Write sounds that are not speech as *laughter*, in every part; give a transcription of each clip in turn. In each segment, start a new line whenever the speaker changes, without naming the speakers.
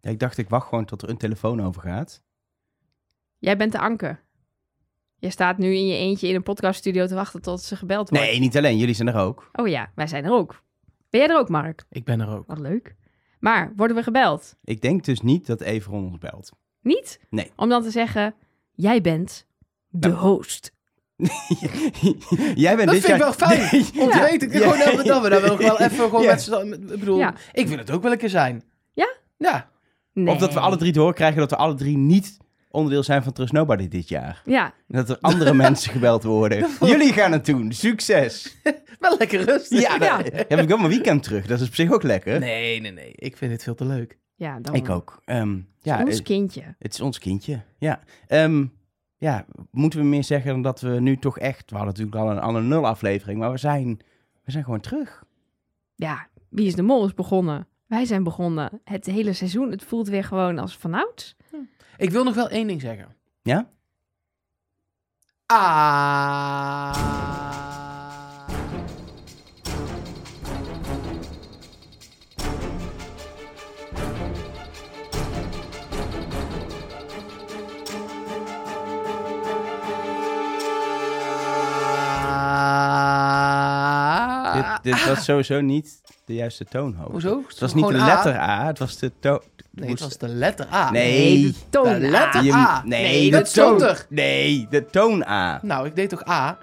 Ja, ik dacht, ik wacht gewoon tot er een telefoon over gaat.
Jij bent de anker. Jij staat nu in je eentje in een podcaststudio te wachten tot ze gebeld wordt.
Nee, niet alleen. Jullie zijn er ook.
Oh ja, wij zijn er ook. Ben jij er ook, Mark?
Ik ben er ook.
Wat leuk. Maar worden we gebeld?
Ik denk dus niet dat Everon ons belt. *laughs*
Niet?
Nee. Nou,
Om dan te zeggen, jij bent de host.
Jij bent
dat
dit
vind ik wel
jaar-
fijn om te
Ja.
weten. Gewoon dat we, dat we daar wel, wel even gewoon
Ja.
met z'n allen- Ik bedoel,
Ja.
ik wil het ook wel een keer zijn.
Ja?
Ja.
Nee.
Of dat we alle drie te horen krijgen dat we alle drie niet onderdeel zijn van Trust Nobody dit jaar.
Ja,
Dat er andere
*laughs*
mensen gebeld worden. Jullie gaan het doen. Succes.
Wel lekker rustig.
Ja,
Ja.
dan heb ik wel mijn weekend terug. Dat is op zich ook lekker.
Nee, nee, nee. Ik vind dit veel te leuk.
ja dan
Ik ook. Ehm, ja,
Ons
eh,
kindje.
het is ons kindje. Ja. Ehm, ja, moeten we meer zeggen dan dat we nu toch echt... We hadden natuurlijk al een andere nul aflevering, maar we zijn, we zijn gewoon terug.
Ja, Wie is de Mol is begonnen. Wij zijn begonnen. Het hele seizoen, het voelt weer gewoon als vanouds.
Ik wil nog wel één ding zeggen.
Ja?
Ah.
dit, dit was sowieso niet de juiste toonhoogte.
Ah. Hoezo?
Het was niet de
Gewoon A.
letter A, het was de toon...
Nee, het was de letter A.
Nee.
de toon.
De letter-
Je-
A.
Nee,
Nee,
de
dat stond
toon-
er.
Nee, de toon A.
Nou, ik deed toch A?
Ah,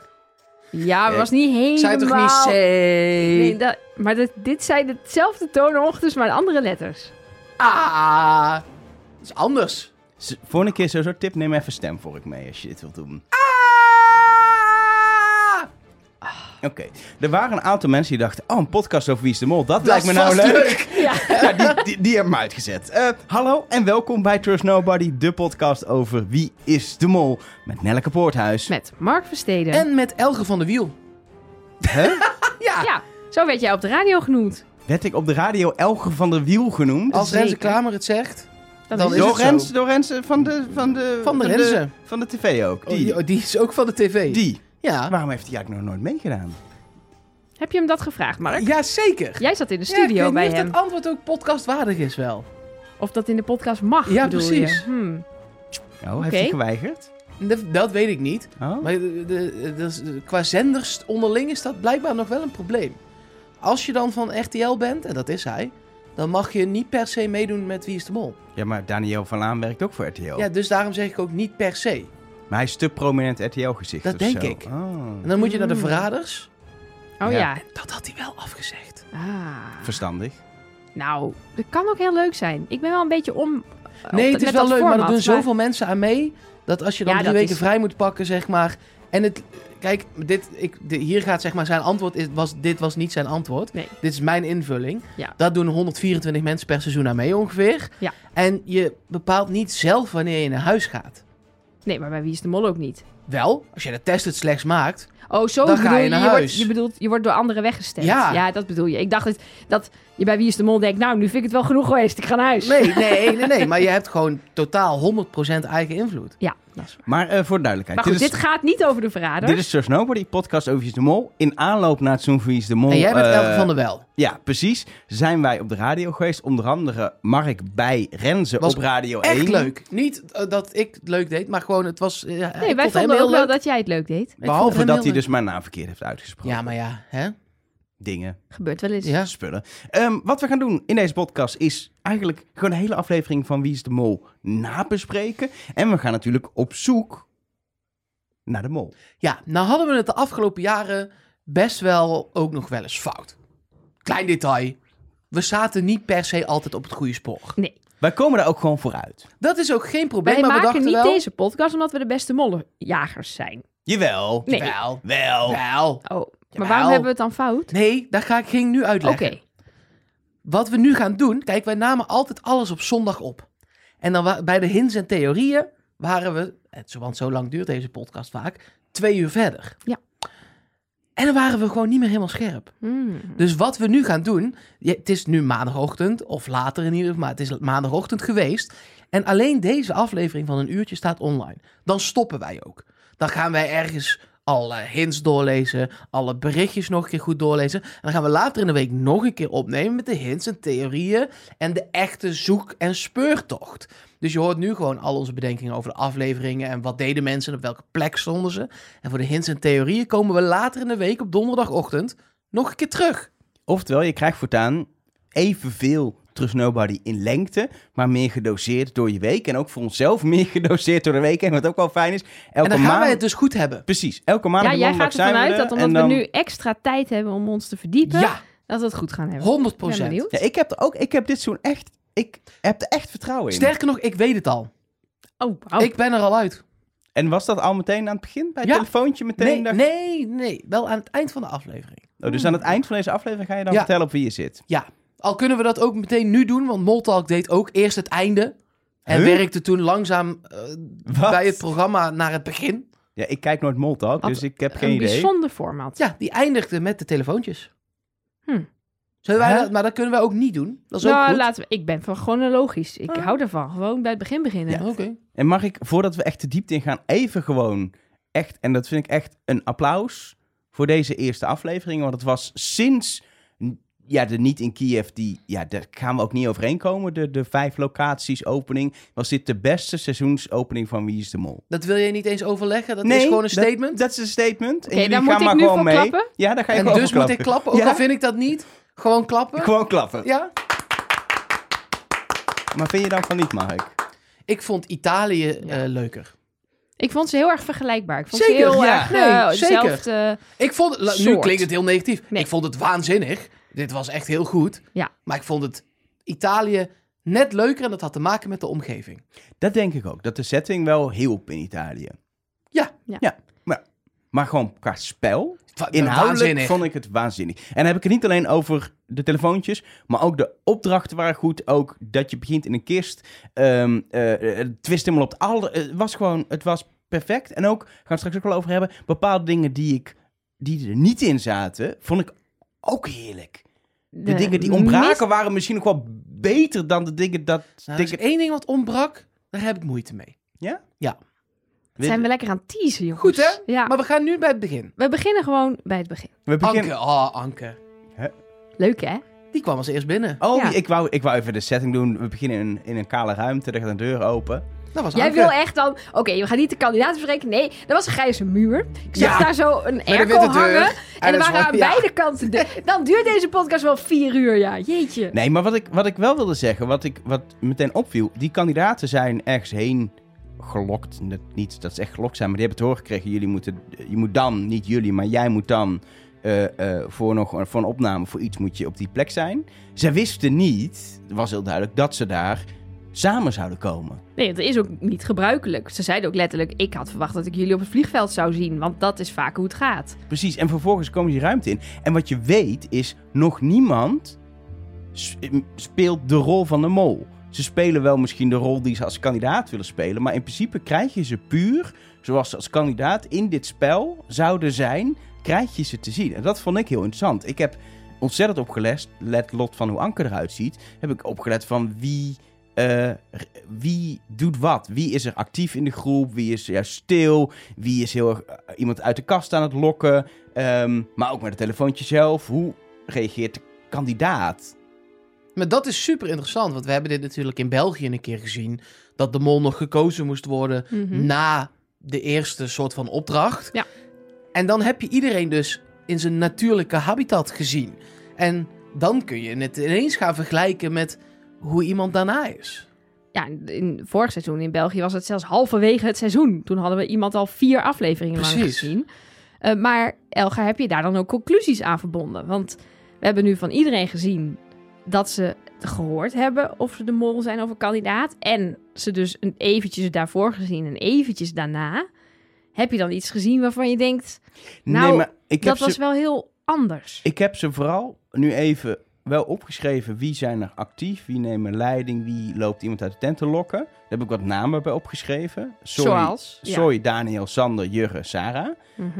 Ja, maar
Eh,
was niet helemaal...
Ik zei toch niet C?
Nee, dat- maar dit, dit zijn dezelfde toonhoogtes, maar andere letters.
Ah, dat is anders.
S- Volgende keer sowieso tip, neem even stem voor ik mee als je dit wilt doen.
Ah,
Oké, er waren een aantal mensen die dachten, oh een podcast over Wie is de Mol, dat, lijkt me
is
nou
vast
leuk.
Ja.
Ja, die, die, die hebben hem uitgezet. Eh, hallo en welkom bij Trust Nobody, de podcast over Wie is de Mol met Nelleke Poorthuis.
Met Mark Versteden.
En met Elge van de Wiel.
Huh?
Ja,
Ja, zo werd jij op de radio genoemd.
Werd ik op de radio Elge van der Wiel genoemd?
als Renze
zeker.
Klamer het zegt.
Dat
Dan
is
Oh, is
het.
het zo.
Dorens, Dorens van de... Van de,
Van de Renze.
van de tv ook.
Oh, Ah. die,
Die.
oh, die is ook van de tv.
die.
Ja.
Waarom heeft hij eigenlijk nog nooit meegedaan?
Heb je hem dat gevraagd, Mark?
ja, zeker.
Jij zat in de
Ja, ik
studio
weet
bij
niet
hem.
of dat antwoord ook podcastwaardig is wel.
Of dat in de podcast mag,
Ja,
bedoel
precies.
je? Hmm.
Oh, heeft hij
Oké.
geweigerd?
Dat, dat weet ik niet.
Oh?
Maar de, de- dat is- qua zenders onderling is dat blijkbaar nog wel een probleem. Als je dan van RTL bent, en dat is hij, dan mag je niet per se meedoen met Wie is de Mol.
Ja, maar Daniel van Laan werkt ook voor RTL.
Ja, dus daarom zeg ik ook niet per se.
Maar hij is te prominent RTL-gezicht
Dat
of
denk
zo.
ik.
Oh.
En dan moet je naar de verraders.
Oh
Ja.
ja.
Hmm. Dat had hij wel afgezegd.
Ah.
Verstandig.
Nou, dat kan ook heel leuk zijn. Ik ben wel een beetje om... op
Nee,
dat-
het is
met
wel
dat
leuk, maar er
format,
doen zoveel mensen aan mee. Dat als je dan
Ja,
drie
dat
weken
is-
vrij moet pakken, zeg maar. En het. Kijk, dit, ik, de- hier gaat zeg maar zijn antwoord. Is, was, dit was niet zijn antwoord.
Nee.
Dit is mijn invulling.
Ja.
Dat doen 124 mensen per seizoen aan mee ongeveer.
Ja.
En je bepaalt niet zelf wanneer je naar huis gaat.
Nee, maar bij Wie is de Mol ook niet.
Wel, als je de test het slechts maakt.
Oh, zo
Dan ga
bedoel
je naar
je, wordt-
huis.
je bedoelt, je wordt door anderen weggestemd.
Ja.
dat bedoel je. Ik dacht dat, dat je bij Wie is de Mol denkt, nou, nu vind ik het wel genoeg geweest. Ik ga naar huis.
Nee, nee, nee, nee. Maar je hebt gewoon totaal 100% eigen invloed.
Ja, dat is waar.
Maar eh, voor de duidelijkheid.
Maar goed,
dit,
dit, gaat niet over de verrader.
is, dit is Trust Nobody, podcast over Wie is de Mol. In aanloop naar het seizoen van Wie is de Mol...
En jij bent
eh,
Elke van der Wel.
Ja, precies. Zijn wij op de radio geweest. Onder andere Mark bij Renze
Was
op Radio 1.
Echt leuk. Niet eh, dat ik het leuk deed, maar gewoon het was... eh, ik
Nee,
vond
wij
hem
vonden
heel
ook wel
leuk.
dat jij het leuk deed.
Ik vond
Behalve
hem
dat hij
heel leuk.
dus mijn naam verkeerd heeft uitgesproken.
Ja, maar ja, hè?
Dingen,
Gebeurt wel eens.
Ja.
spullen. Ehm, wat we gaan doen in deze podcast is eigenlijk gewoon een hele aflevering van Wie is de Mol nabespreken. En we gaan natuurlijk op zoek naar de mol.
Ja, nou hadden we het de afgelopen jaren best wel ook nog wel eens fout. Klein detail. We zaten niet per se altijd op het goede spoor.
Nee,
Wij komen daar ook gewoon vooruit.
Dat is ook geen probleem,
wij
maar we
maken
dachten
niet
wel...
deze podcast omdat we de beste mollenjagers zijn.
Jawel.
Nee.
Wel,
Wel.
wel.
Oh, maar
Jawel.
waarom hebben we het dan fout?
Nee, daar ga ik geen nu
Oké,
uitleggen. Wat we nu gaan doen... Kijk, wij namen altijd alles op zondag op. En dan wa- bij de hints en theorieën waren we... het- Want zo lang duurt deze podcast vaak. Twee uur verder.
Ja.
En dan waren we gewoon niet meer helemaal scherp.
Hmm.
Dus wat we nu gaan doen, je- het is nu maandagochtend, of later in ieder geval, maar het is maandagochtend geweest. En alleen deze aflevering van een uurtje staat online. Dan stoppen wij ook. Dan gaan wij ergens alle hints doorlezen, alle berichtjes nog een keer goed doorlezen. En dan gaan we later in de week nog een keer opnemen met de hints en theorieën en de echte zoek- en speurtocht. Dus je hoort nu gewoon al onze bedenkingen over de afleveringen en wat deden mensen en op welke plek stonden ze. En voor de hints en theorieën komen we later in de week op donderdagochtend nog een keer terug.
Oftewel, je krijgt voortaan evenveel Trust Nobody in lengte, maar meer gedoseerd door je week. En ook voor onszelf *laughs* meer gedoseerd door de week. En wat ook wel fijn is, elke
en dan gaan
maand...
wij het dus goed hebben.
Precies, elke maand
Ja, jij gaat ervan uit dat omdat we nu extra tijd hebben om ons te verdiepen,
Ja,
dat we het goed gaan hebben.
100
Ik ben benieuwd.
Ja, ik heb er ook, ik heb dit zo'n echt, ik heb er echt vertrouwen in.
Sterker nog, ik weet het al.
Oh, wauw.
Ik ben er al uit.
En was dat al meteen aan het begin, bij het
Ja.
telefoontje meteen?
Nee,
dacht-
nee, nee. Wel aan het eind van de aflevering.
Oh, dus aan het eind van deze aflevering ga je dan
Ja.
vertellen op wie je zit.
Al kunnen we dat ook meteen nu doen, want Moltalk deed ook eerst het einde. En
Huh?
werkte toen langzaam eh,
Wat?
bij het programma naar het begin.
Ja, ik kijk nooit Moltalk,
Wat
dus ik heb geen
een
idee.
bijzonder format.
Ja, die eindigde met de telefoontjes.
Hm.
Zullen wij
Hè?
dat, maar dat kunnen we ook niet doen. Dat is ook
nou,
goed. Ah.
laten we, ik ben van chronologisch. Ik hou ervan. Gewoon bij het begin beginnen.
Ja, oké.
En mag ik, voordat we echt de diepte in gaan, even gewoon echt, en dat vind ik echt een applaus voor deze eerste aflevering. Want het was sinds ja, de Niet in Kiev, die, ja, daar gaan we ook niet overheen komen. De, de vijf locaties opening, was dit de beste seizoensopening van Wie is de Mol.
Dat wil je niet eens overleggen. Dat is gewoon een
dat-
statement.
Dat is een statement.
Oké,
en jullie
daar
gaan
moet ik
maar
nu
gewoon
voor
mee.
klappen?
Ja, daar ga je
en
gewoon
dus
voor
moet
klappen.
ik klappen. Ook
Ja,
al vind ik dat niet. Gewoon klappen.
*laughs* Gewoon klappen.
Ja.
Maar vind je dan van niet, Mark?
Ik vond Italië
Ja.
eh, leuker.
Ik vond ze heel erg vergelijkbaar. Ik vond
Zeker,
ze heel
ja.
erg
Nee,
eh,
zeker.
hetzelfde.
Ik vond, la- nu
Soort.
klinkt het heel negatief.
Nee.
Ik vond het waanzinnig. Dit was echt heel goed.
Ja.
Maar ik vond het Italië net leuker en dat had te maken met de omgeving.
Dat denk ik ook. Dat de setting wel hielp in Italië.
Ja.
Ja.
ja. Maar, maar gewoon qua spel,
Wa- eh,
inhoudelijk
waanzinnig.
vond ik het waanzinnig. En dan heb ik het niet alleen over de telefoontjes, maar ook de opdrachten waren goed. Ook dat je begint in een kist. Ehm eh, het twist helemaal op het alle... Het was gewoon, het was perfect. En ook, gaan we het straks ook wel over hebben, bepaalde dingen die ik, die er niet in zaten, vond ik ook heerlijk. De,
eh,
dingen die ontbraken
mis-
waren misschien nog wel beter dan de dingen dat...
Nou, er is één ding wat ontbrak, daar heb ik moeite mee.
zijn we lekker aan het teasen, jongens.
Goed, hè?
Ja.
Maar we gaan nu bij het begin.
We beginnen gewoon bij het begin.
we beginnen...
Anke, oh Anke.
Leuk, hè?
Die kwam als eerst binnen.
Oh,
Ja.
ik, wou, ik wou even de setting doen. We beginnen in, een- in een kale ruimte, daar gaat een deur open.
Dat was
Jij
Anke.
wil echt dan... Oké, we gaan niet de kandidaten bespreken. Nee, er was een grijze muur. Ik zag
Ja.
daar zo een
een
airco
witte deur.
hangen.
En
En er
een
waren aan
zwarte- ja.
beide kanten...
*laughs*
de- Dan duurt deze podcast wel vier uur, ja. Jeetje.
Nee, maar wat ik, wat ik wel wilde zeggen, wat, ik, wat meteen opviel... Die kandidaten zijn ergens heen gelokt. Dat, niet dat ze echt gelokt zijn, maar die hebben het horen gekregen. Jullie moeten, je moet dan, niet jullie, maar jij moet dan... eh, eh, voor, nog, voor een opname, voor iets moet je op die plek zijn. Zij wisten niet, het was heel duidelijk, dat ze daar samen zouden komen.
Nee, dat is ook niet gebruikelijk. Ze zeiden ook letterlijk... Ik had verwacht dat ik jullie op het vliegveld zou zien. Want dat is vaak hoe het gaat.
Precies, en vervolgens komen ze die ruimte in. En wat je weet is, nog niemand s- m- speelt de rol van de mol. Ze spelen wel misschien de rol die ze als kandidaat willen spelen, maar in principe krijg je ze puur, zoals ze als kandidaat in dit spel zouden zijn, krijg je ze te zien. En dat vond ik heel interessant. Ik heb ontzettend opgelet, let lot van hoe Anker eruit ziet, heb ik opgelet van wie, eh, r- wie doet wat. Wie is er actief in de groep, wie is juist stil, wie is heel erg eh, iemand uit de kast aan het lokken. ehm, maar ook met het telefoontje zelf. Hoe reageert de kandidaat?
Maar dat is super interessant, want we hebben dit natuurlijk in België een keer gezien. Dat de mol nog gekozen moest worden
Mhm.
na de eerste soort van opdracht.
Ja.
En dan heb je iedereen dus in zijn natuurlijke habitat gezien. En dan kun je het ineens gaan vergelijken met hoe iemand daarna is.
Ja, in vorig seizoen in België was het zelfs halverwege het seizoen. Toen hadden we iemand al vier afleveringen lang
Precies.
gezien. Eh, maar Elga, heb je daar dan ook conclusies aan verbonden? Want we hebben nu van iedereen gezien dat ze gehoord hebben of ze de mol zijn of een kandidaat. En ze dus een eventjes daarvoor gezien en eventjes daarna. Heb je dan iets gezien waarvan je denkt, Nou,
ik heb
dat
ze,
was wel heel anders?
ik heb ze vooral nu even wel opgeschreven wie zijn er actief, wie nemen leiding, wie loopt iemand uit de tent te lokken. Daar heb ik wat namen bij opgeschreven. Sorry,
Zoals. ja.
Soy, Daniel, Sander, Jurre, Sarah.
Mhm.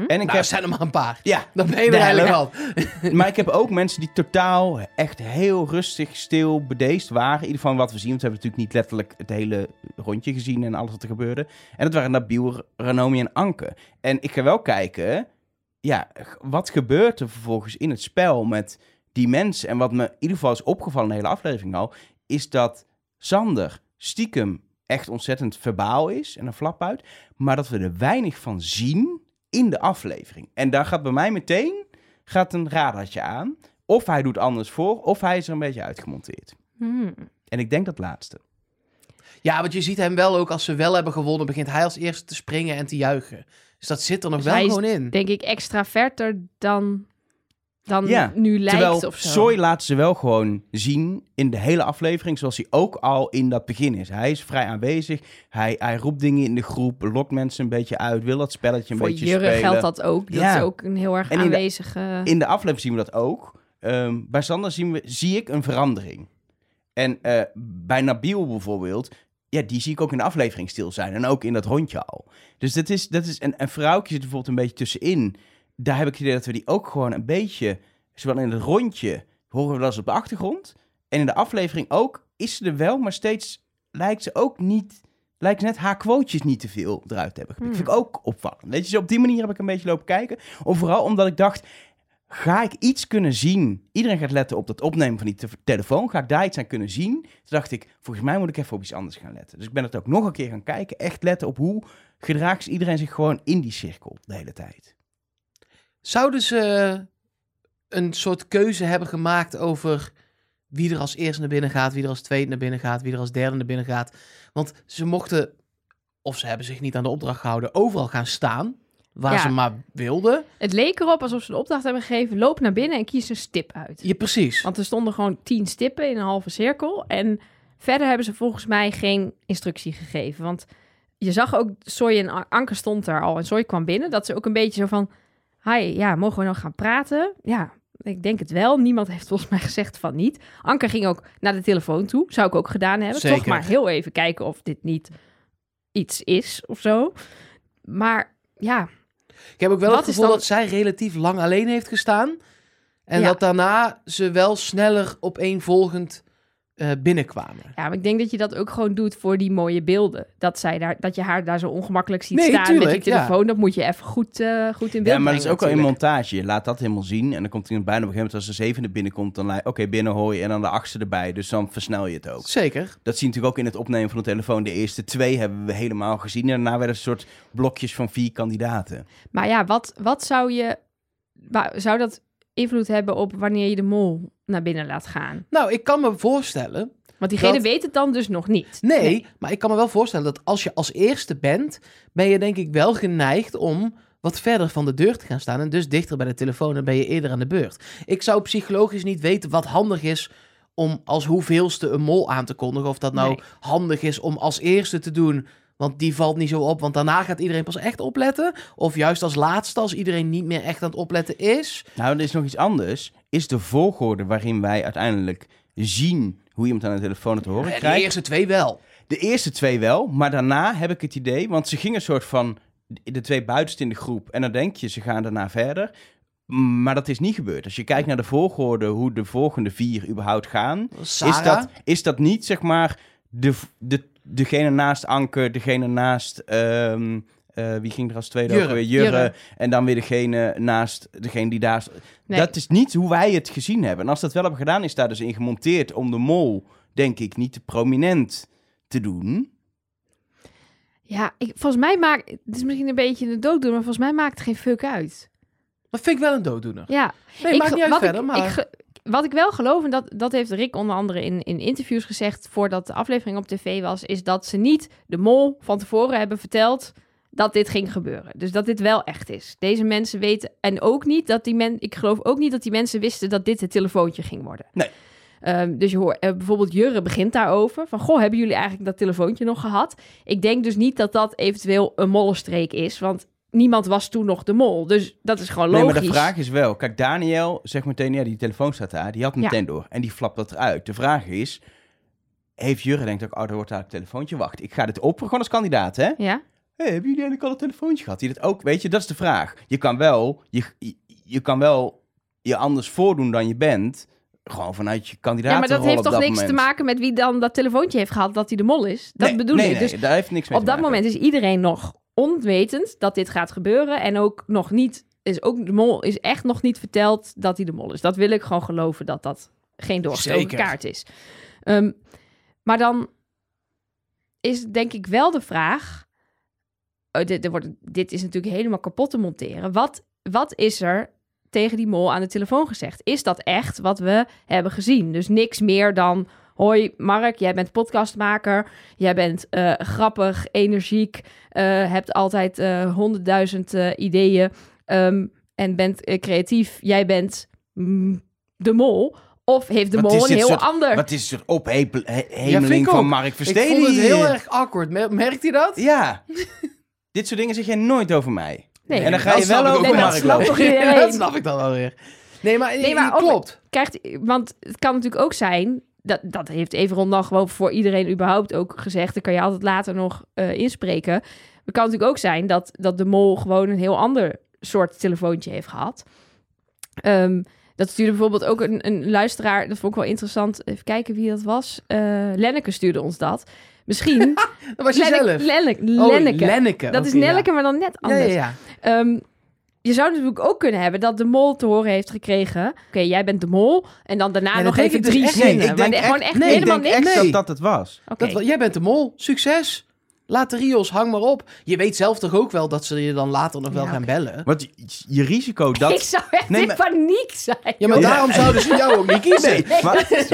En ik
Nou,
heb,
er zijn er maar een paar.
ja,
Dan ben je er
De
eigenlijk al.
*laughs* maar ik heb ook mensen die totaal echt heel rustig, stil, bedeesd waren. In ieder geval wat we zien, want we hebben natuurlijk niet letterlijk het hele rondje gezien en alles wat er gebeurde. En dat waren Nabil, Ranomi en Anke. En ik ga wel kijken, ja, g- wat gebeurt er vervolgens in het spel met die mensen? En wat me in ieder geval is opgevallen in de hele aflevering al, is dat Sander stiekem echt ontzettend verbaal is en een flap uit. Maar dat we er weinig van zien in de aflevering. En daar gaat bij mij meteen gaat een radartje aan. Of hij doet anders voor, of hij is er een beetje uitgemonteerd.
Hmm.
En ik denk dat laatste.
Ja, want je ziet hem wel ook als ze wel hebben gewonnen, begint hij als eerste te springen en te juichen. Dus dat zit er nog
Dus
wel
hij is-
gewoon in.
Denk ik extraverter dan, dan
Ja,
nu lijkt
Terwijl
of zo.
Soy laat ze wel gewoon zien in de hele aflevering, zoals hij ook al in dat begin is. Hij is vrij aanwezig, hij, hij roept dingen in de groep, lokt mensen een beetje uit, wil dat spelletje een
Voor
beetje
Jurre
spelen.
geldt dat ook. Dat
Ja.
is ook een heel erg
En in de-
aanwezige...
In de aflevering zien we dat ook. Ehm, bij Sander zien we, zie ik een verandering. En eh, bij Nabil bijvoorbeeld, ja, die zie ik ook in de aflevering stil zijn. En ook in dat rondje al. Dus dat is, dat is en, en vrouwtje zit bijvoorbeeld een beetje tussenin. Daar heb ik het idee dat we die ook gewoon een beetje, zowel in het rondje, horen we dat eens op de achtergrond. En in de aflevering ook, is ze er wel, maar steeds lijkt ze ook niet, lijkt ze net haar quotejes niet te veel eruit te hebben. gepikt.
Hmm.
vind ik ook opvallend. Weet je, dus op die manier heb ik een beetje lopen kijken. Of vooral omdat ik dacht, ga ik iets kunnen zien? Iedereen gaat letten op dat opnemen van die te- telefoon. Ga ik daar iets aan kunnen zien? Toen dacht ik, volgens mij moet ik even op iets anders gaan letten. Dus ik ben het ook nog een keer gaan kijken. Echt letten op hoe gedraagt iedereen zich gewoon in die cirkel de hele tijd.
Zouden ze een soort keuze hebben gemaakt over wie er als eerste naar binnen gaat, wie er als tweede naar binnen gaat, wie er als derde naar binnen gaat? Want ze mochten, of ze hebben zich niet aan de opdracht gehouden, overal gaan staan waar
Ja.
ze maar wilden.
Het leek erop alsof ze een opdracht hebben gegeven. Loop naar binnen en kies een stip uit.
Ja, precies.
Want er stonden gewoon tien stippen in een halve cirkel. En verder hebben ze volgens mij geen instructie gegeven. Want je zag ook, Soy en An- Anke stond daar al. En Soy kwam binnen. Dat ze ook een beetje zo van... Hi, ja, mogen we nog gaan praten? Ja, ik denk het wel. Niemand heeft volgens mij gezegd van niet. Anke ging ook naar de telefoon toe. Zou ik ook gedaan hebben. Toch
Zeker.
maar heel even kijken of dit niet iets is of zo. Maar ja,
Ik heb ook wel
Wat
het
is
gevoel
dan-
dat zij relatief lang alleen heeft gestaan. En
Ja.
dat daarna ze wel sneller opeenvolgend eh binnenkwamen.
Ja, maar ik denk dat je dat ook gewoon doet voor die mooie beelden. Dat, zij daar, dat je haar daar zo ongemakkelijk ziet
Nee,
staan met
tuurlijk,
die
ja.
telefoon. Dat moet je even goed, eh, goed in beeld
Ja, maar dat is
brengen
ook al in
natuurlijk.
montage. Je laat dat helemaal zien. En dan komt iemand bijna op een gegeven moment als de zevende binnenkomt. Dan lijkt, oké, binnen hoor je. En dan de achtste erbij. Dus dan versnel je het ook.
Zeker.
Dat zie je natuurlijk ook in het opnemen van de telefoon. De eerste twee hebben we helemaal gezien. En daarna werden het een soort blokjes van vier kandidaten.
Maar ja, wat, wat zou je... wa- Zou dat invloed hebben op wanneer je de mol naar binnen laat gaan?
Nou, ik kan me voorstellen
Want diegene
Dat-
weet het dan dus nog niet.
Nee, maar ik kan me wel voorstellen dat als je als eerste bent, ben je denk ik wel geneigd om wat verder van de deur te gaan staan en dus dichter bij de telefoon en ben je eerder aan de beurt. Ik zou psychologisch niet weten wat handig is om als hoeveelste een mol aan te kondigen, of dat nou
Nee.
handig is om als eerste te doen, want die valt niet zo op, want daarna gaat iedereen pas echt opletten, of juist als laatste als iedereen niet meer echt aan het opletten is.
Nou, er is nog iets anders. Is de volgorde waarin wij uiteindelijk zien hoe iemand aan de telefoon het te horen
En de
krijgt.
eerste twee wel.
De eerste twee wel, maar daarna heb ik het idee, want ze gingen een soort van de twee buitenste in de groep. En dan denk je, ze gaan daarna verder. Maar dat is niet gebeurd. Als je kijkt naar de volgorde, hoe de volgende vier überhaupt gaan,
Sarah,
is dat, is dat niet zeg maar de, de, degene naast Anker, degene naast. ehm, eh, wie ging er als tweede
Jurre.
ook weer? Jurre.
Jurre.
En dan weer degene naast degene die daar...
Nee.
Dat is niet hoe wij het gezien hebben. En als dat wel hebben gedaan, is daar dus in gemonteerd... om de mol, denk ik, niet te prominent te doen.
Ja, ik, volgens mij maakt... Het is misschien een beetje een dooddoen, maar volgens mij maakt het geen fuck uit.
dat vind ik wel een dooddoener.
Ja,
Nee,
Ik
maakt
ge-
niet uit
wat
verder,
ik,
maar...
ik ge- wat ik wel geloof, en dat, dat heeft Rick onder andere in, in interviews gezegd... voordat de aflevering op tv was... is dat ze niet de mol van tevoren hebben verteld dat dit ging gebeuren. Dus dat dit wel echt is. Deze mensen weten... En ook niet dat die mensen... Ik geloof ook niet dat die mensen wisten dat dit het telefoontje ging worden.
Nee.
Ehm, dus je hoort eh, bijvoorbeeld Jurre begint daarover. Van, goh, hebben jullie eigenlijk dat telefoontje nog gehad? Ik denk dus niet dat dat eventueel een mollenstreek is. Want niemand was toen nog de mol. Dus dat is gewoon
Nee,
logisch.
maar de vraag is wel... Kijk, Daniel zegt meteen... Ja, die telefoon staat daar. Die had meteen door. En die flapt dat eruit. De vraag is... Heeft Jurre denkt ook... Oh, er wordt daar een telefoontje. Wacht, ik ga dit openen gewoon als kandidaat, hè?
Ja?
Hé, hebben jullie eigenlijk al een telefoontje gehad? Die dat ook... Weet je, dat is de vraag. Je kan wel... Je, je, je kan wel je anders voordoen dan je bent... Gewoon vanuit je
ja,
kandidatenrol
maar dat heeft
op
toch niks
moment.
te maken met wie dan dat telefoontje heeft gehad dat hij de mol is? Dat
Nee,
bedoel
nee,
ik.
Nee,
Dus
daar heeft niks mee
op
te
dat
maken.
moment is iedereen nog onwetend dat dit gaat gebeuren. En ook nog niet, is ook de mol is echt nog niet verteld dat hij de mol is. Dat wil ik gewoon geloven dat dat geen doorgestoken
Zeker.
kaart is. Ehm, maar dan is denk ik wel de vraag. eh, dit, er wordt, dit is natuurlijk helemaal kapot te monteren. Wat, wat is er tegen die mol aan de telefoon gezegd? Is dat echt wat we hebben gezien? Dus niks meer dan. Hoi Mark, jij bent podcastmaker. Jij bent eh, grappig, energiek. eh, hebt altijd eh, honderdduizend ideeën. ehm, en bent eh, creatief. Jij bent mm, de mol. Of heeft de
Wat is
mol een
dit
heel
soort-
ander.
Wat is er
Ja, vind
ophemeling
ik
van
ook.
Mark
Ik
Versteden?
vond het
hier?
heel erg awkward. Mer- Merkt hij dat? *laughs*
Ja. Dit soort dingen zeg jij nooit over mij.
Nee.
en dan ga je
Dat snap
wel
ik
over
Nee, dat
Mark
snap
lopen.
toch
*laughs*
iedereen?
dat snap ik dan wel weer. Nee, maar,
Nee, maar
het
ook-
klopt.
krijgt, want het kan natuurlijk ook zijn, dat, dat heeft Everon dan gewoon voor iedereen überhaupt ook gezegd, dat kan je altijd later nog eh, inspreken. Het kan natuurlijk ook zijn dat, dat de mol gewoon een heel ander soort telefoontje heeft gehad. Ehm, dat stuurde bijvoorbeeld ook een, een luisteraar, dat vond ik wel interessant, even kijken wie dat was. Eh Lenneke stuurde ons dat.
*laughs*
Misschien.
Dat was je
Lennek-
zelf.
Lenneke.
Oh,
Lenneke.
Lenneke.
Dat is
oké, ja.
Nelleke, maar dan net
Ja,
anders.
ja, ja.
Ehm, je zou natuurlijk ook kunnen hebben dat de mol te horen heeft gekregen. Oké, jij bent de mol. En dan daarna
dat
nog
denk
even
ik dus
drie
echt
zinnen.
niet.
maar de- gewoon echt
nee, ik
helemaal
ik denk
niks.
echt
Nee.
dat dat het was.
Oké.
Dat wa- jij bent de mol. Succes. Laat de Rios, hang maar op. Je weet zelf toch ook wel dat ze je dan later nog wel
Ja,
gaan bellen.
Want je- je risico
Ik
dat...
zou echt
Nee,
in
maar-
paniek zijn.
Ja, maar
Ja.
daarom zouden ze jou ook niet kiezen.
Nee, maar-
*laughs*
het-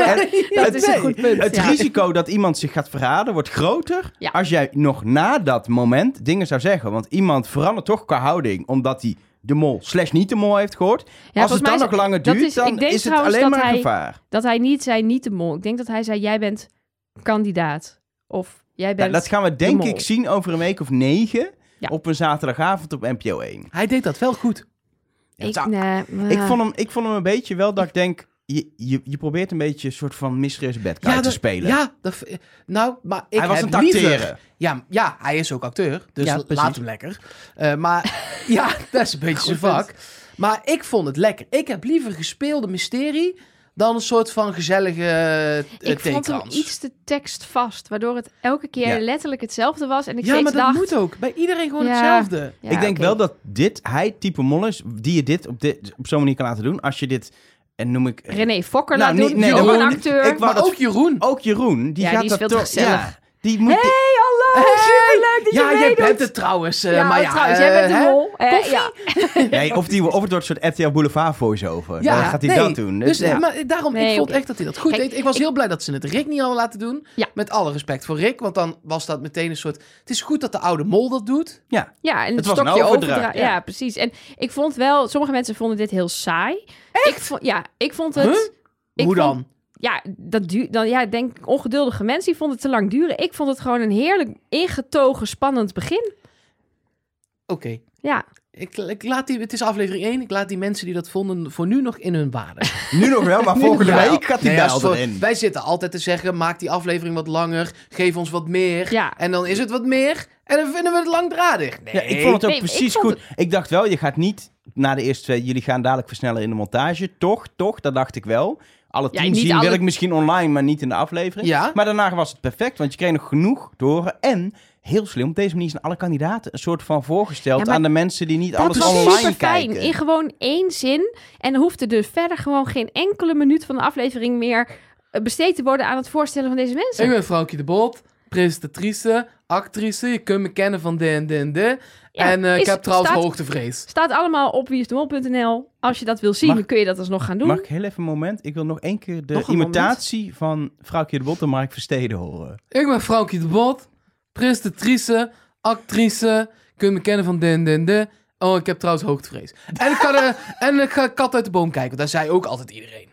dat
het-
is een goed punt.
Het
ja.
risico dat iemand zich gaat verraden wordt groter
Ja.
als jij nog na dat moment dingen zou zeggen. Want iemand verandert toch qua houding omdat hij de mol slash niet de mol heeft gehoord.
Ja,
als
volgens
het dan
mij
nog
is-
langer
dat
duurt,
is- ik
dan
denk
is het
trouwens
alleen
dat
maar een
hij-
gevaar.
Dat hij niet zei, niet de mol. Ik denk dat hij zei, jij bent kandidaat. Of jij
Nou,
bent...
dat gaan we denk
mol.
ik zien over een week of negen
Ja.
op een zaterdagavond op NPO 1.
Hij deed dat wel goed.
ik,
Ja,
nee,
Ik
Ah.
maar-
vond, hem, ik vond hem een beetje wel dat ik denk... Je, je, je probeert een beetje een soort van mysteries bedkaart te
dat-
spelen.
Ja, dat, v- nou, maar ik
Hij was
heb
een tacteren.
liever- Ja, ja, hij is ook acteur, dus
Ja,
la-
precies.
laat hem lekker. Eh, maar *laughs* ja, dat is een beetje zijn
punt.
vak. Maar ik vond het lekker. Ik heb liever gespeelde mysterie dan een soort van gezellige uh,
ik vond hem iets te tekstvast, waardoor het elke keer
Ja.
letterlijk hetzelfde was. En ik
Ja,
steeds
maar dat
dacht...
moet ook. Bij iedereen gewoon
Ja.
hetzelfde.
Ja,
ik denk
oké.
wel dat dit, hij type mol is... die je dit op, dit, op zo'n manier kan laten doen. Als je dit, en noem ik...
René Fokker
Nou,
laat
niet-
doen,
nee,
Jeroen
dat
een
wou ik-
acteur.
ik wou
Maar
dat- Oh,
ook Jeroen.
Ook Jeroen, die
Ja,
gaat
die
dat
is veel te
toch...
gezellig.
die moet...
Hey,
*laughs*
hallo! leuk Eh, dat je
ja, jij
meedoet.
bent het trouwens. eh,
ja,
maar ja,
trouwens, jij
eh,
bent de
hè?
mol. Eh, ja.
Nee, of, die, of het wordt een soort RTL Boulevard voice-over.
Ja,
Dan gaat hij
nee.
dat doen.
Dus,
ja.
maar daarom,
Nee,
ik vond
oké.
echt dat hij dat goed
Kijk,
deed. Ik was heel blij dat ze het Rick niet hadden laten doen.
Ja.
Met alle respect voor Rick, want dan was dat meteen een soort... Het is goed dat de oude mol dat doet.
ja.
ja, en het,
Het was een
stokje
overdracht,
overdragen. Ja.
ja.
precies. En ik vond wel, sommige mensen vonden dit heel saai. Ik vond, ja, ik vond het...
Huh?
Ik
Hoe
vond-
dan?
ja, dat duur, dan, ja, ik denk ongeduldige mensen, die vonden het te lang duren. Ik vond het gewoon een heerlijk ingetogen, spannend begin.
Oké,
Ja,
ik, ik laat die, het is aflevering 1. Ik laat die mensen die dat vonden voor nu nog in hun waarde.
Nu nog wel, maar
*laughs* Nu
*laughs* volgende
nog wel.
week gaat die
Nee, als
bel
voor-
erin.
Wij zitten altijd te zeggen, maak die aflevering wat langer. Geef ons wat meer.
Ja.
En dan is het wat meer. En dan vinden we het langdradig. Nee.
Ja, ik vond het ook
Nee, ik
precies
vond
goed. Ik dacht wel, je gaat niet na de eerste twee... Jullie gaan dadelijk versnellen in de montage. Toch, toch, dat dacht ik wel. Alle
Ja,
tien
niet
zien
alle-
wil ik misschien online, maar niet in de aflevering.
Ja.
Maar daarna was het perfect, want je kreeg nog genoeg te horen. En, heel slim, op deze manier zijn alle kandidaten een soort van voorgesteld...
Ja, maar
aan de mensen die niet alles
dat was
online
super fijn.
kijken.
In gewoon één zin. En er hoefde dus verder gewoon geen enkele minuut van de aflevering meer eh, besteed te worden aan het voorstellen van deze mensen.
Ik ben Frankje de Bot, presentatrice, actrice. Je kunt me kennen van de en de en de.
Ja,
en eh, ik
is-
heb trouwens
staat,
hoogtevrees.
staat allemaal op wieisdemol.nl. Als je dat wil zien,
Mag-
dan kun je dat alsnog gaan doen.
Mag ik heel even een moment? Ik wil nog één keer de
Nog een
imitatie van Vrouwtje de Bot en Mark Versteden horen.
Ik ben Frankie de Bot, presentatrice, actrice. Kun je me kennen van den, den, de. Oh, ik heb trouwens hoogtevrees. En ik ga, de,
*laughs*
en ik ga kat uit de boom kijken, want daar zei ook altijd iedereen.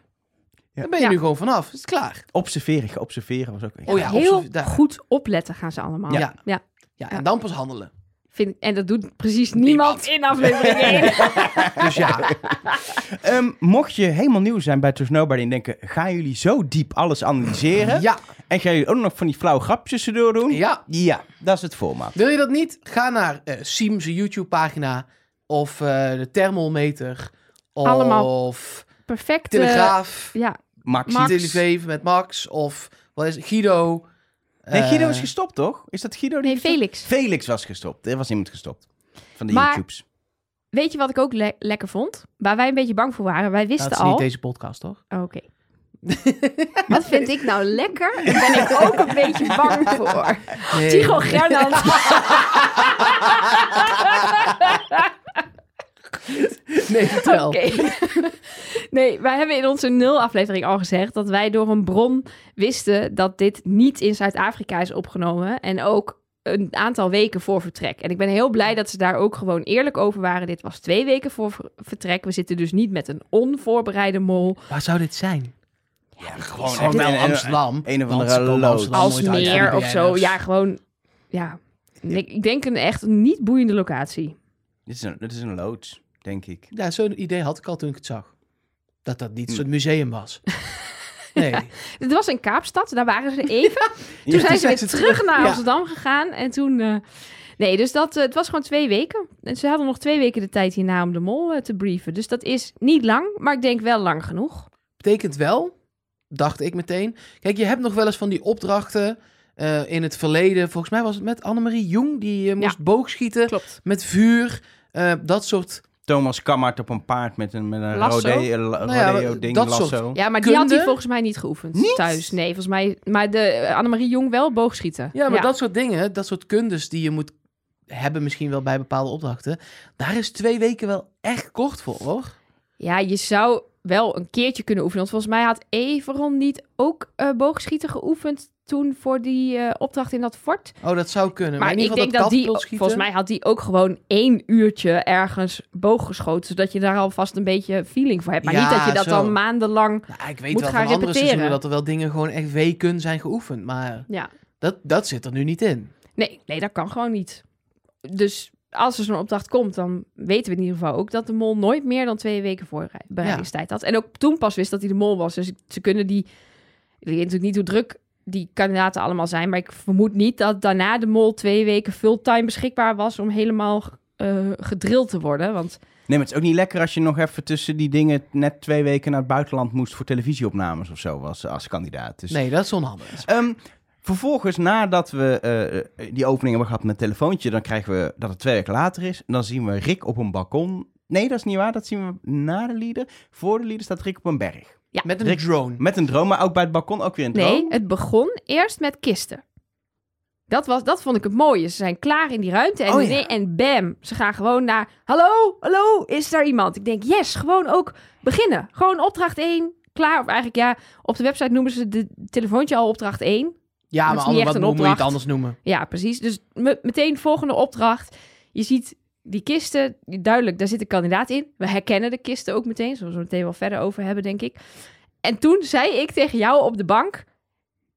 Daar ben je
Ja.
nu gewoon vanaf, is het klaar.
Observeren, observeren was ook...
Oh ja,
Heel
observ- daar-
goed opletten gaan ze allemaal.
Ja.
ja.
ja, en dan pas handelen.
Vind, ik- en dat doet precies niemand in
*laughs*
aflevering 1.
Dus *laughs* ja,
Ehm, mocht je helemaal nieuw zijn bij Trust Nobody en denken... gaan jullie zo diep alles analyseren?
ja,
En gaan jullie ook nog van die flauwe grapjes erdoor doen?
ja.
Ja, dat is het formaat.
Wil je dat niet? Ga naar eh Siem's YouTube-pagina of eh, de thermometer of
Allemaal. Perfect. eh,
Telegraaf,
Ja,
Max.
Max.
Televeef met Max of wat is het? Guido.
Nee, Guido is
Eh,
gestopt, toch? Is dat Guido? die
nee,
gestopt-
Felix.
Felix was gestopt. Er was iemand gestopt. Van de
Maar-
YouTubes.
Weet je wat ik ook le- lekker vond? Waar wij een beetje bang voor waren. Wij wisten
Dat is
al.
niet deze podcast, toch?
Oh, Oké. Wat vind ik nou lekker? Daar ben ik ook een beetje bang voor.
Nee.
Tycho Gernand.
*laughs* Nee, vertel.
Oké. *laughs* nee, wij hebben in onze nul-aflevering al gezegd dat wij door een bron wisten dat dit niet in Zuid-Afrika is opgenomen. En ook een aantal weken voor vertrek. En ik ben heel blij dat ze daar ook gewoon eerlijk over waren. Dit was twee weken voor ver- vertrek. We zitten dus niet met een onvoorbereide mol.
Waar zou dit zijn?
Ja, gewoon
Gewoon
echt
wel
een- een-
Amsterdam.
een of
Want
andere
ze komen
lood.
Amsterdam
Als
nooit uit,
meer
hè,
of zo.
dus-
Ja, gewoon. Ja. Ik, ik denk een echt niet boeiende locatie.
Dit is een, dit is een loods, denk ik.
Ja, zo'n idee had ik al toen ik het zag. Dat dat niet
Hm.
zo'n museum
*laughs*
was. Nee.
Het was in Kaapstad, daar waren
*laughs*
ze even. Toen
Ja,
zijn ze weer
zijn ze
terug naar
Ja.
Amsterdam gegaan. En toen... eh, nee, dus dat, eh, het was gewoon twee weken. En ze hadden nog twee weken de tijd hierna om de mol eh, te brieven. Dus dat is niet lang, maar ik denk wel lang genoeg.
Betekent wel, dacht ik meteen. Kijk, je hebt nog wel eens van die opdrachten eh, in het verleden. Volgens mij was het met Annemarie Jong, die eh, moest boogschieten
Klopt.
met vuur. eh, dat soort.
Thomas Kammert op een paard met een, met een
Lasso?
rode- eh, la-
Nou ja,
rodeo ding,
dat soort-
lasso.
Ja, maar die
Kunde?
had hij volgens mij niet geoefend
Niet?
thuis. Nee, volgens mij... Maar de, eh, Annemarie Jong wel boogschieten.
Ja, maar dat soort dingen, dat soort kundes die je moet hebben, misschien wel bij bepaalde opdrachten. Daar is twee weken wel echt kort voor, hoor.
Ja, je zou wel een keertje kunnen oefenen. Want volgens mij had Everon niet ook eh, boogschieten geoefend... toen voor die eh, opdracht in dat fort.
Oh, dat zou kunnen.
Maar
in
ik
ieder geval
denk dat die,
katapultschieten-
volgens mij had die ook gewoon één uurtje ergens boog geschoten. Zodat je daar alvast een beetje feeling voor hebt. Maar
Ja,
niet dat je dat
zo.
dan maandenlang...
Nou, ik weet
moet
wel van
gaan
andere
repeteren.
seizoenen dat er wel dingen gewoon echt weken zijn geoefend. Maar
Ja.
dat, dat zit er nu niet in.
Nee, nee, dat kan gewoon niet. Dus als er zo'n opdracht komt, dan weten we in ieder geval ook... dat de mol nooit meer dan twee weken voorbereidingstijd had. En ook toen pas wist dat hij de mol was. Dus ze kunnen die... Ik weet natuurlijk niet hoe druk die kandidaten allemaal zijn... maar ik vermoed niet dat daarna de mol twee weken fulltime beschikbaar was... om helemaal eh gedrild te worden. Want
Nee, maar het is ook niet lekker als je nog even tussen die dingen net twee weken naar het buitenland moest voor televisieopnames of zo was als kandidaat. Dus,
Nee, dat is onhandig.
Ehm, vervolgens, nadat we eh, die opening hebben gehad met telefoontje, dan krijgen we dat het twee weken later is. En dan zien we Rick op een balkon. Nee, dat is niet waar. Dat zien we na de leader. Voor de leader staat Rick op een berg.
Met een
Rick-
drone.
Met een droom, maar ook bij het balkon ook weer een droom.
Nee, het begon eerst met kisten. Dat, was, dat vond ik het mooie. Ze zijn klaar in die ruimte en,
Oh ja.
nee, en bam, ze gaan gewoon naar... Hallo, hallo, is daar iemand? Ik denk, yes, gewoon ook beginnen. Gewoon opdracht 1, klaar. Of eigenlijk, ja, op de website noemen ze de telefoontje al opdracht 1.
Ja,
Dat
maar
is niet
ander,
echt
wat
een
hoe moet je het
opdracht.
anders noemen?
Ja, precies. Dus me- meteen volgende opdracht. Je ziet die kisten, duidelijk, daar zit een kandidaat in. We herkennen de kisten ook meteen, zoals we het meteen wel verder over hebben, denk ik. En toen zei ik tegen jou op de bank,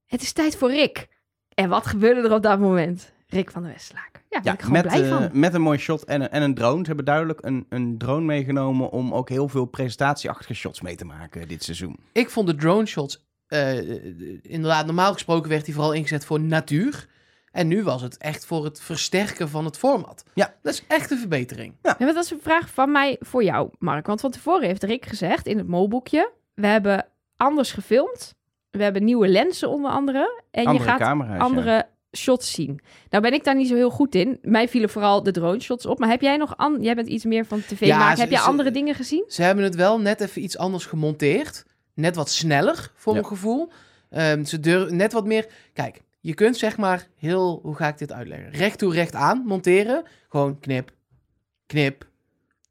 het is tijd voor Rick. En wat gebeurde er op dat moment? Rick van de Westlaak. Ja, daar ben ik gewoon
met,
blij
eh,
van.
met een mooi shot en een, en een drone. Ze hebben duidelijk een, een drone meegenomen om ook heel veel presentatieachtige shots mee te maken dit seizoen.
Ik vond de drone shots... eh, inderdaad, normaal gesproken werd die vooral ingezet voor natuur. En nu was het echt voor het versterken van het format.
Ja.
Dat is echt een verbetering.
Ja, maar dat is een vraag van mij voor jou, Mark. Want van tevoren heeft Rick gezegd in het molboekje... we hebben anders gefilmd. We hebben nieuwe lenzen onder andere. En
andere
je gaat
camera's. ja.
andere shots zien. Nou ben ik daar niet zo heel goed in. Mij vielen vooral de drone shots op. Maar heb jij nog... An- jij bent iets meer van tv
Ja,
maken.
ze-
Heb jij
ze-
andere dingen gezien?
Ze hebben het wel net even iets anders gemonteerd. Net wat sneller, voor
Ja.
mijn gevoel. Ehm, ze durven net wat meer... Kijk, je kunt zeg maar heel... Hoe ga ik dit uitleggen? Recht toe, recht aan monteren. Gewoon knip, knip,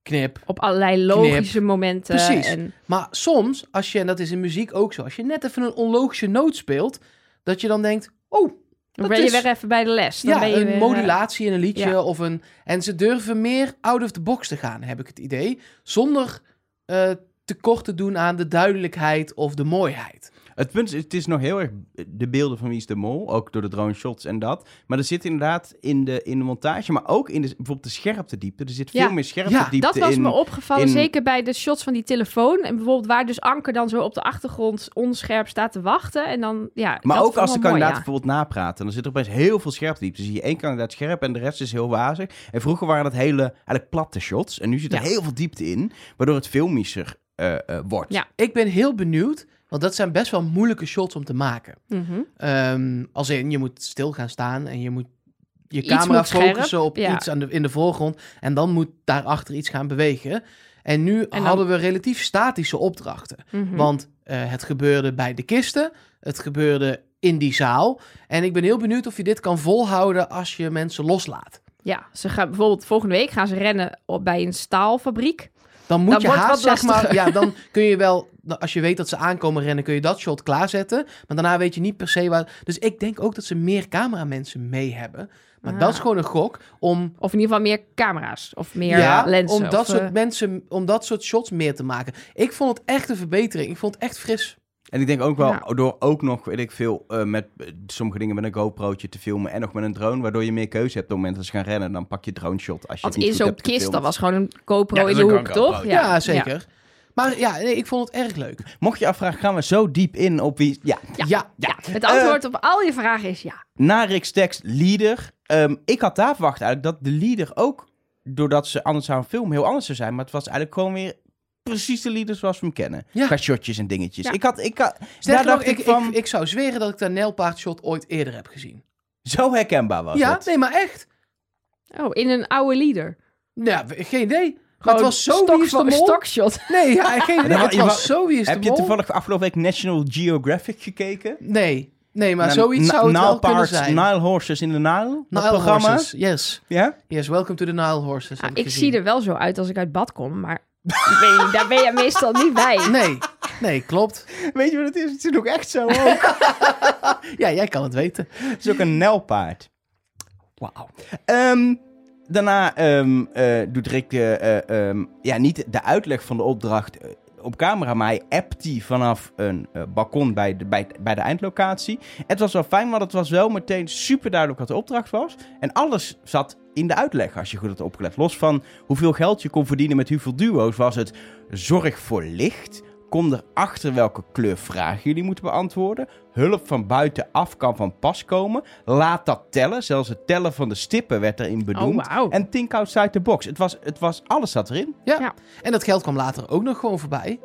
knip.
Op allerlei logische momenten.
Precies.
En,
Maar soms, als je, en dat is in muziek ook zo... Als je net even een onlogische noot speelt... Dat je dan denkt... Oh,
dan
Dat
ben je
is-
weer even bij de les. Dus Dan
ja,
ben je
een
weer, eh,
modulatie in een liedje
ja.
of een... En ze durven meer out of the box te gaan, heb ik het idee. Zonder eh tekort te doen aan de duidelijkheid of de mooiheid.
Het punt is, het is nog heel erg de beelden van Wie is de Mol, ook door de drone shots en dat. Maar er zit inderdaad in de, in de montage, maar ook in de, bijvoorbeeld de scherptediepte. Er zit veel
Ja.
meer scherptediepte
Ja,
in.
eh, Dat was me opgevallen,
in-
zeker bij de shots van die telefoon. En bijvoorbeeld waar dus Anker dan zo op de achtergrond onscherp staat te wachten. En dan, ja,
Maar
dat
ook
vond
als de
ik wel mooi,
kandidaat
ja.
bijvoorbeeld napraten, dan zit er opeens heel veel scherptediepte. Dan zie je één kandidaat scherp en de rest is heel wazig. En vroeger waren dat hele, eigenlijk platte shots. En nu zit er
Ja.
heel veel diepte in, waardoor het filmischer eh, eh, wordt.
Ja.
Ik ben heel benieuwd, want dat zijn best wel moeilijke shots om te maken.
Mhm.
Ehm, als in, je moet stil gaan staan en je moet je
Iets
camera
moet scherp,
focussen op
ja.
iets aan de, in de voorgrond. En dan moet daarachter iets gaan bewegen. En nu
dan-
hadden we relatief statische opdrachten.
Mhm.
Want eh, het gebeurde bij de kisten, het gebeurde in die zaal. En ik ben heel benieuwd of je dit kan volhouden als je mensen loslaat.
Ja, ze gaan bijvoorbeeld volgende week gaan ze rennen op, bij een staalfabriek.
Dan moet
Dan
je
wordt
haast,
wat
zeg maar.
lastiger.
Ja,
*laughs*
dan kun je wel, als je weet dat ze aankomen rennen, kun je dat shot klaarzetten. Maar daarna weet je niet per se waar. Dus ik denk ook dat ze meer cameramensen mee hebben. Maar
Ah.
dat is gewoon een gok om.
Of in ieder geval meer camera's of meer lenzen.
om dat
of,
soort
eh,
mensen, om dat soort shots meer te maken. Ik vond het echt een verbetering. Ik vond het echt fris.
En ik denk ook wel
Ja.
door ook nog, weet ik veel, eh, met eh, sommige dingen met een GoPro'tje te filmen en nog met een drone, waardoor je meer keuze hebt op het moment dat ze gaan rennen. Dan pak je drone shot als je
want
het niet
in
goed
zo'n
hebt
kist, dat
gefilmd.
was gewoon een GoPro
Ja, dat
in
is
de
ook
hoek,
een GoPro,
toch?
Ja, zeker. Maar ja, nee, ik vond het erg leuk.
Mocht je je afvragen, gaan we zo diep in op wie... Ja,
Ja, Eh,
Ja.
Ja.
Ja. Het antwoord op al je vragen is ja.
na Rick's tekst Leader. Ehm, ik had daar verwacht eigenlijk dat de Leader ook, doordat ze anders aan een film, heel anders zou zijn. Maar het was eigenlijk gewoon weer precies de Leader zoals we hem kennen.
Ja.
Qua shotjes en dingetjes.
Ja.
Ik had... Ik had daar
Sterker nog,
dacht ik,
ik, ik,
van,
ik, zou zweren dat ik dat nijlpaardshot ooit eerder heb gezien.
zo herkenbaar was
Ja,
het.
nee, maar echt.
Oh, in een oude leader.
Nou, we- geen idee. Maar
Gewoon
het was zo
stok,
wie is de mol?
Stokshot.
Nee, ja, geen idee.
Nou,
Het
je
was
wa-
zo wie is de
Heb je
mol?
toevallig afgelopen week National Geographic gekeken?
Nee, nee, maar
Na-
zoiets
na-
zou het
Nile
wel kunnen
Parks,
zijn.
Nile Horses in the Nile. dat
Nile
programma.
Horses, yes.
Ja?
Yes, welcome to the Nile Horses. heb
Ah, ik
gezien.
zie er wel zo uit als ik uit bad kom, maar ik weet niet, daar ben je meestal niet bij.
Nee, nee, klopt.
Weet je wat het is? Het is ook echt zo. Ook.
Ja, jij kan het weten.
*laughs*
Oh,
het is ook een nelpaard.
Wauw.
Ehm, daarna ehm, eh, doet Rick eh, eh, ehm, ja, niet de uitleg van de opdracht eh, op camera, maar hij appt die vanaf een eh, balkon bij de, bij, bij de eindlocatie. Het was wel fijn, want het was wel meteen super duidelijk wat de opdracht was. En alles zat in de uitleg, als je goed had opgelet. Los van hoeveel geld je kon verdienen met hoeveel duo's, was het zorg voor licht. Kom erachter welke kleur vragen jullie moeten beantwoorden. Hulp van buitenaf kan van pas komen. Laat dat tellen. Zelfs het tellen van de stippen werd erin benoemd.
Oh, wauw.
En think outside the box. Het was, het was, alles zat erin.
Ja.
Ja.
en dat geld kwam later ook nog gewoon voorbij.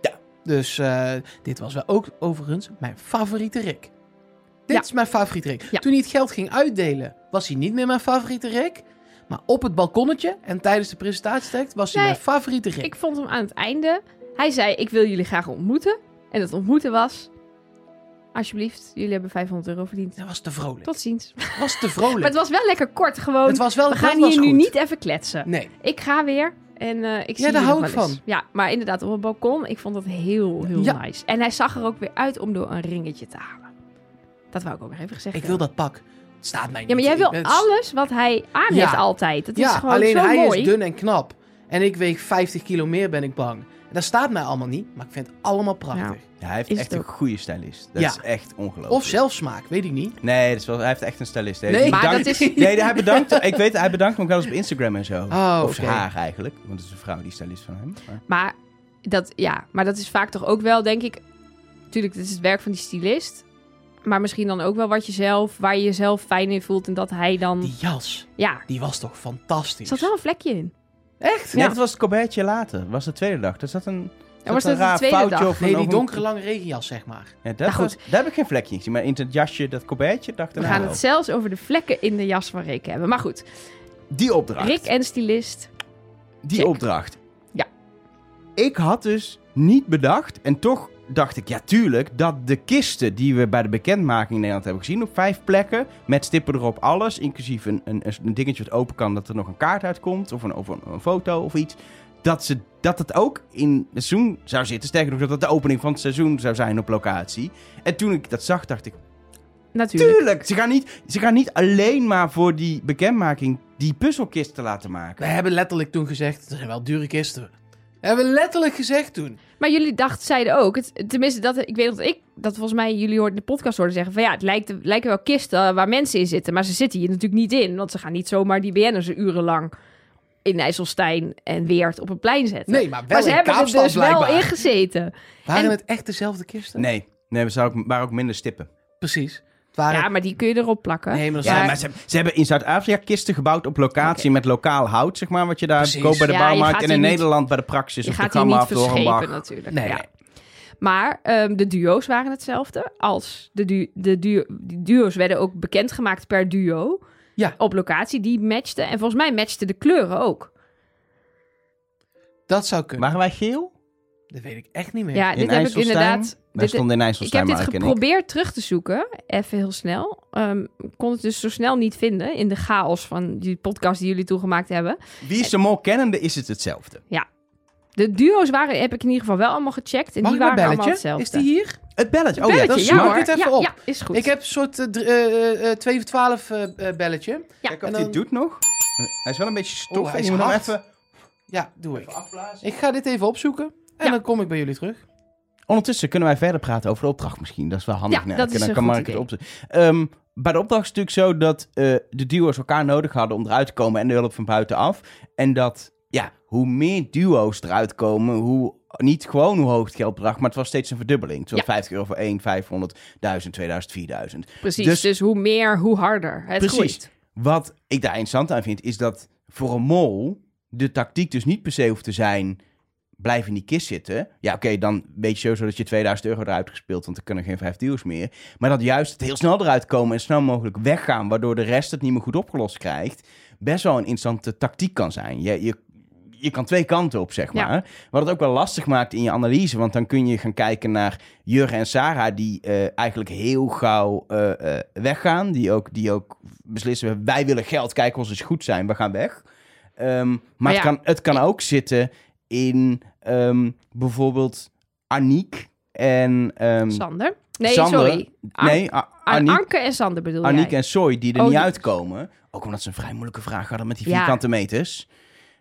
Ja.
Dus eh, dit was wel ook overigens mijn favoriete Rick. Dit
Ja.
is mijn favoriete Rick.
Ja.
Toen hij het geld ging uitdelen, was hij niet meer mijn favoriete Rick. Maar op het balkonnetje en tijdens de presentatietijd was hij
Nee,
mijn favoriete Rick.
Ik vond hem aan het einde. Hij zei: Ik wil jullie graag ontmoeten. En het ontmoeten was. Alsjeblieft, jullie hebben 500 euro verdiend.
Hij was te vrolijk.
Tot ziens. Maar
Het was te vrolijk.
het was wel lekker kort, gewoon.
Het was wel
we
dat
gaan
was
hier nu
goed.
niet even kletsen.
Nee.
Ik ga weer. En eh, ik zie
daar
jullie
hou
nog
ik
wel eens. Ja, maar inderdaad, op het balkon. Ik vond dat heel, heel
Ja.
nice. En hij zag er ook weer uit om door een ringetje te halen. Dat wou ik ook nog even gezegd
Ik wil
hebben.
dat pak. Het staat mij niet.
Ja, maar jij
Ik
wil
ben-
alles wat hij aan
Ja.
heeft altijd. Dat is
Ja,
gewoon
alleen
zo
hij
mooi.
is dun en knap. En ik weeg 50 kilo meer, ben ik bang. En dat staat mij allemaal niet, maar ik vind het allemaal prachtig.
Ja, hij heeft
Is
echt
het
een
ook.
goede stylist. Dat
Ja.
is echt ongelooflijk.
Of zelfsmaak, weet ik niet.
Nee, dat is wel, hij heeft echt een stylist. Hij
Nee,
heeft
maar
bedankt-
dat
*laughs*
is-
Nee, hij
*laughs*
bedankt... Ik weet, hij bedankt me ook wel eens op Instagram en zo.
Oh,
of zijn
oké.
haar eigenlijk. Want het is een vrouw die stylist van hem. Maar-
Maar dat, ja, maar dat is vaak toch ook wel, denk ik. Natuurlijk, dit is het werk van die stylist. Maar misschien dan ook wel wat je zelf, waar je jezelf fijn in voelt. En dat hij dan.
Die jas,
ja,
die was toch
er
fantastisch.
zat wel een vlekje in.
Echt?
Nee,
Ja.
dat was het colbertje later. was de tweede dag. Dat zat een, zat
was
een
dat de
raar
tweede
foutje
dag?
Of een,
Nee,
of
die
een-
donkere lange regenjas, zeg maar.
Ja, dat
Nou, goed.
was- daar heb ik geen vlekje in gezien. Maar in dat jasje, dat colbertje, dacht ik
We gaan het zelfs over de vlekken in de jas van Rick hebben. Maar goed,
Die opdracht.
Rick en stylist.
die
Check.
opdracht.
Ja.
Ik had dus niet bedacht, en toch dacht ik, ja tuurlijk, dat de kisten die we bij de bekendmaking in Nederland hebben gezien, op vijf plekken, met stippen erop alles, inclusief een, een, een dingetje wat open kan dat er nog een kaart uitkomt, of een, of een, een foto of iets, dat, ze, dat het ook in het seizoen zou zitten. Sterker nog, dat het de opening van het seizoen zou zijn op locatie. En toen ik dat zag, dacht ik,
Natuurlijk.
tuurlijk, ze gaan niet, ze gaan niet alleen maar voor die bekendmaking die puzzelkisten laten maken.
We hebben letterlijk toen gezegd, er zijn wel dure kisten. Hebben we letterlijk gezegd toen.
Maar jullie dachten, zeiden ook, het, tenminste, dat, ik weet dat ik, dat volgens mij jullie hoorden in de podcast hoorden zeggen van ja, het lijkt, lijken wel kisten eh, waar mensen in zitten, maar ze zitten hier natuurlijk niet in, want ze gaan niet zomaar die BN'ers urenlang in IJsselstein en Weert op een plein zetten.
Nee, maar wel
maar ze
in
hebben er
Kaapstad
dus
blijkbaar.
wel in gezeten.
Waren
en-
het echt dezelfde kisten?
Nee, nee we zouden ook, waren ook minder stippen.
Precies. Het waren...
Ja, maar die kun je erop plakken.
Nee, maar dat
Ja,
zijn-
maar ze, ze hebben in Zuid-Afrika kisten gebouwd op locatie met lokaal hout, zeg maar. Wat je daar
Precies.
koopt bij de
Ja, je
bouwmarkt.
gaat
En
hier
in
niet-
Nederland bij de praxis
je
of de
gaat die niet
gamma of de
verschepen
Hornbach.
natuurlijk.
Nee,
ja.
nee.
Maar ehm, de duo's waren hetzelfde als de, du de du- die duo's werden ook bekendgemaakt per duo.
Ja.
Op locatie, die matchten. En volgens mij matchten de kleuren ook.
dat zou kunnen.
Waren wij geel?
Dat weet ik echt niet meer.
Ja,
In
dit heb ik
IJsselstein?
inderdaad.
Wij
dit-
stonden in
ik heb
IJsselstein,
dit
maar ik en ik.
geprobeerd terug te zoeken, even heel snel. Ehm, ik kon het dus zo snel niet vinden in de chaos van die podcast die jullie toegemaakt hebben.
Wie is de mol kennende, is het hetzelfde.
De duo's waren, heb ik in ieder geval wel allemaal gecheckt. En
Mag
die
ik
waren
mijn
allemaal
belletje?
hetzelfde.
Is die hier?
Het belletje. Oh ja,
Belletje,
dat is
ja,
super.
Mag ik
hoor.
het even
ja,
op?
ja, is goed.
Ik heb een soort eh, dr- eh, eh, 2 voor 12 eh, eh, belletje.
Ja.
Kijk of
En
dit
dan-
doet nog. Hij is wel een beetje stof.
Oh, hij
en
is
je moet hem
hard.
even,
Ja, doe ik.
even afblazen.
Ik ga dit even opzoeken. En
Ja.
dan kom ik bij jullie terug.
Ondertussen kunnen wij verder praten over de opdracht misschien. Dat is wel handig.
Ja,
Nou,
dat is
dan
een
kan
goed
Mark het
idee.
opzoeken. Ehm, bij de opdracht is het natuurlijk zo dat eh, de duo's elkaar nodig hadden om eruit te komen en de hulp van buitenaf. En dat, ja, hoe meer duo's eruit komen, hoe niet gewoon hoe hoog het geldbedrag, maar het was steeds een verdubbeling. Het was
Ja.
50 euro voor 1, 500, 1000, 2000, 4000.
Precies,
dus-
dus, hoe meer, hoe harder. Het
Precies.
groeit.
Wat ik daar interessant aan vind, is dat voor een mol de tactiek dus niet per se hoeft te zijn... blijf in die kist zitten. Ja, oké, dan weet je sowieso dat je 2000 euro eruit gespeeld... want er kunnen geen vijf deals meer. Maar dat juist het heel snel eruit komen en snel mogelijk weggaan... waardoor de rest het niet meer goed opgelost krijgt... best wel een interessante tactiek kan zijn. Je, je, je kan twee kanten op, zeg
Ja.
maar. Wat het ook wel lastig maakt in je analyse... want dan kun je gaan kijken naar Jurgen en Sarah... die eh, eigenlijk heel gauw eh, eh, weggaan. Die ook, die ook beslissen, wij willen geld, kijk ons eens goed zijn, we gaan weg. Ehm, maar
Maar
het,
ja.
kan, het kan ook zitten in ehm, bijvoorbeeld Aniek en... ehm,
Sander? Nee,
Sander?
sorry. An-
nee, A-
An-
Aniek,
Anke en Sander bedoel
Aniek
jij?
en Soy die er
Oh,
niet
die-
uitkomen. Ook omdat ze een vrij moeilijke vraag hadden met die
Ja.
vierkante meters.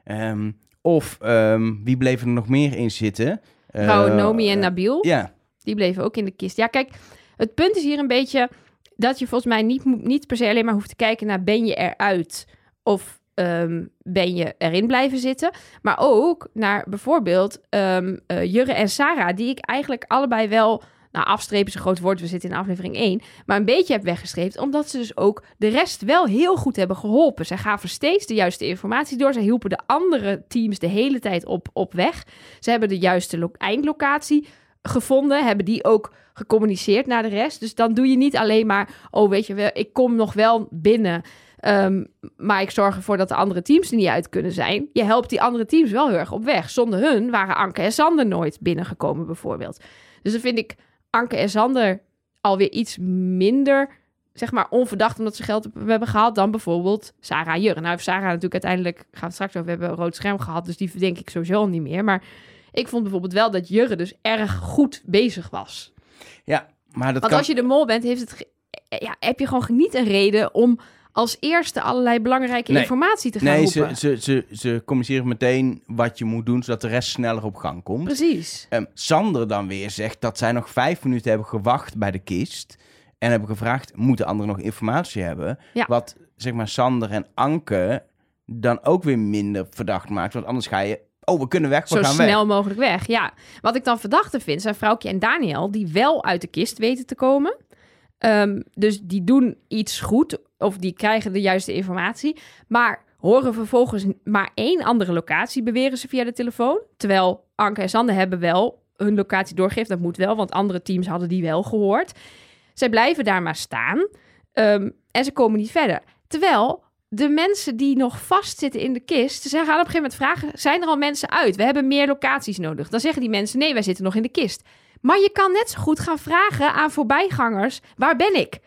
Ehm, of ehm, wie bleven er nog meer in zitten? Eh,
Rauw, Nomi en Nabil,
Ja,
die bleven ook in de kist. Ja, kijk, het punt is hier een beetje dat je volgens mij niet, moet- niet per se alleen maar hoeft te kijken naar ben je eruit of ehm, ben je erin blijven zitten. Maar ook naar bijvoorbeeld ehm, eh, Jurre en Sarah, die ik eigenlijk allebei wel... Nou, afstrepen is een groot woord, we zitten in aflevering 1. Maar een beetje heb weggestreept, omdat ze dus ook de rest wel heel goed hebben geholpen. Zij gaven steeds de juiste informatie door. Zij hielpen de andere teams de hele tijd op, op weg. Ze hebben de juiste lo- eindlocatie gevonden, hebben die ook gecommuniceerd naar de rest. Dus dan doe je niet alleen maar, oh weet je wel, ik kom nog wel binnen. ehm, maar ik zorg ervoor dat de andere teams er niet uit kunnen zijn. Je helpt die andere teams wel heel erg op weg. Zonder hun waren Anke en Sander nooit binnengekomen, bijvoorbeeld. Dus dan vind ik Anke en Sander alweer iets minder, zeg maar, onverdacht omdat ze geld hebben gehaald dan bijvoorbeeld Sarah en Jurgen. Nou heeft Sarah natuurlijk uiteindelijk, gaan we het straks over hebben, een rood scherm gehad, dus die verdenk ik sowieso al niet meer. Maar ik vond bijvoorbeeld wel dat Jurgen dus erg goed bezig was.
ja, maar dat
Want
kan...
als je de mol bent, heeft het ge- eh, ja, heb je gewoon niet een reden om als eerste allerlei belangrijke
Nee.
informatie te gaan
Nee, ze,
roepen.
ze, ze, ze communiceren meteen wat je moet doen... zodat de rest sneller op gang komt.
Precies.
Ehm, Sander dan weer zegt dat zij nog vijf minuten hebben gewacht bij de kist. En hebben gevraagd, moeten anderen nog informatie hebben?
Ja.
Wat zeg maar Sander en Anke dan ook weer minder verdacht maakt. Want anders ga je, oh we kunnen weg, we
Zo
gaan
snel
weg.
mogelijk weg, ja. Wat ik dan verdachte vind, zijn Vrouwtje en Daniel... die wel uit de kist weten te komen. Ehm, dus die doen iets goed of die krijgen de juiste informatie. Maar horen vervolgens maar één andere locatie, beweren ze via de telefoon. Terwijl Anke en Sander hebben wel hun locatie doorgegeven. Dat moet wel, want andere teams hadden die wel gehoord. Zij blijven daar maar staan ehm, en ze komen niet verder. Terwijl de mensen die nog vastzitten in de kist, ze gaan op een gegeven moment vragen: zijn er al mensen uit? We hebben meer locaties nodig. Dan zeggen die mensen: nee, wij zitten nog in de kist. Maar je kan net zo goed gaan vragen aan voorbijgangers: waar ben ik?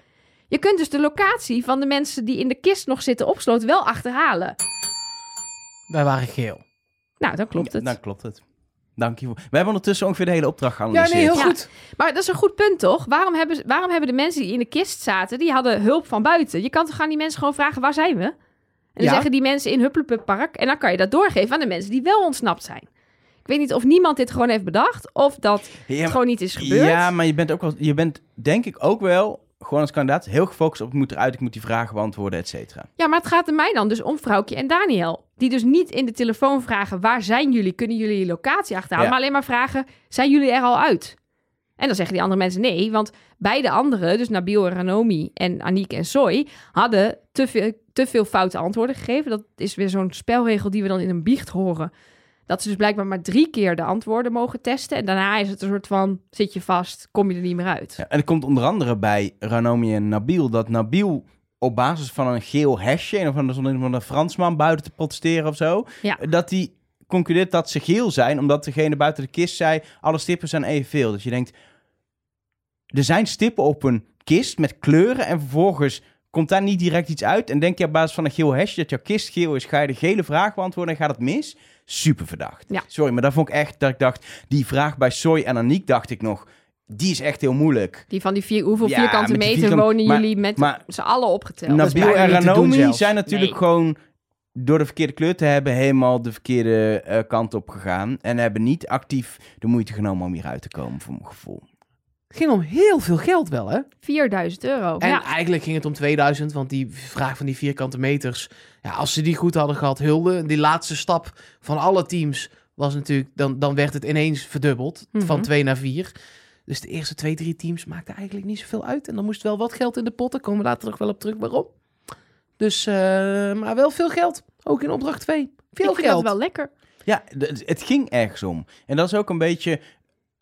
Je kunt dus de locatie van de mensen die in de kist nog zitten opgesloten wel achterhalen.
Wij waren geel.
Nou, dan klopt
Ja,
het.
dan klopt het. Dank je. voor- We hebben ondertussen ongeveer de hele opdracht
Ja,
geanalyseerd.
nee, heel
Ja.
goed.
Maar dat is een goed punt, toch? Waarom hebben, ze- waarom hebben de mensen die in de kist zaten, die hadden hulp van buiten? Je kan toch aan die mensen gewoon vragen, waar zijn we? En dan
Ja.
zeggen die mensen in Hupplepup Park. En dan kan je dat doorgeven aan de mensen die wel ontsnapt zijn. Ik weet niet of niemand dit gewoon heeft bedacht of dat
Ja,
het gewoon niet is gebeurd.
ja, maar je bent ook wel, je bent denk ik ook wel, gewoon als kandidaat, heel gefocust op ik moet eruit, ik moet die vragen beantwoorden, et cetera.
Ja, maar het gaat er mij dan dus om vrouwtje en Daniel. Die dus niet in de telefoon vragen, waar zijn jullie? Kunnen jullie je locatie achterhalen?
Ja.
Maar alleen maar vragen, zijn jullie er al uit? En dan zeggen die andere mensen nee, want beide anderen, dus Nabil en Ranomi en Aniek en Soy, hadden te veel, te veel foute antwoorden gegeven. Dat is weer zo'n spelregel die we dan in een biecht horen. Dat ze dus blijkbaar maar drie keer de antwoorden mogen testen. En daarna is het een soort van, zit je vast, kom je er niet meer uit.
Ja, en het komt onder andere bij Ranomi en Nabil dat Nabil op basis van een geel hesje, en of van een, van een Fransman buiten te protesteren of zo,
Ja.
dat die concludeert dat ze geel zijn, omdat degene buiten de kist zei, alle stippen zijn evenveel. Dus je denkt, er zijn stippen op een kist met kleuren en vervolgens komt daar niet direct iets uit en denk je op basis van een geel hesje dat jouw kist geel is, ga je de gele vraag beantwoorden en gaat het mis? Super verdacht.
Ja.
Sorry, maar dat vond ik echt dat ik dacht, die vraag bij Soy en Aniek dacht ik nog, die is echt heel moeilijk.
Die van die vier, hoeveel
Ja,
vierkante
met die
meter
vierkante-
wonen
maar-
jullie met
maar-
z'n allen opgeteld?
dat is
Nabil
bijna
en
niet te doen
Ranomi
zelfs.
zijn natuurlijk
Nee.
gewoon door de verkeerde kleur te hebben helemaal de verkeerde eh, kant op gegaan. En hebben niet actief de moeite genomen om hieruit te komen, voor mijn gevoel.
Het ging om heel veel geld wel, hè?
4000 euro.
En
ja.
eigenlijk ging het om 2000, want die vraag van die vierkante meters... Ja, als ze die goed hadden gehad, hulde. Die laatste stap van alle teams was natuurlijk... Dan, dan werd het ineens verdubbeld,
Mhm.
van 2 naar 4. Dus de eerste twee, drie teams maakten eigenlijk niet zoveel uit. En dan moest wel wat geld in de pot. Daar komen we later nog wel op terug waarom. Dus, eh, maar wel veel geld. Ook in opdracht 2. Veel
ik vind
geld.
dat wel lekker.
Ja, d- het ging ergens om. En dat is ook een beetje...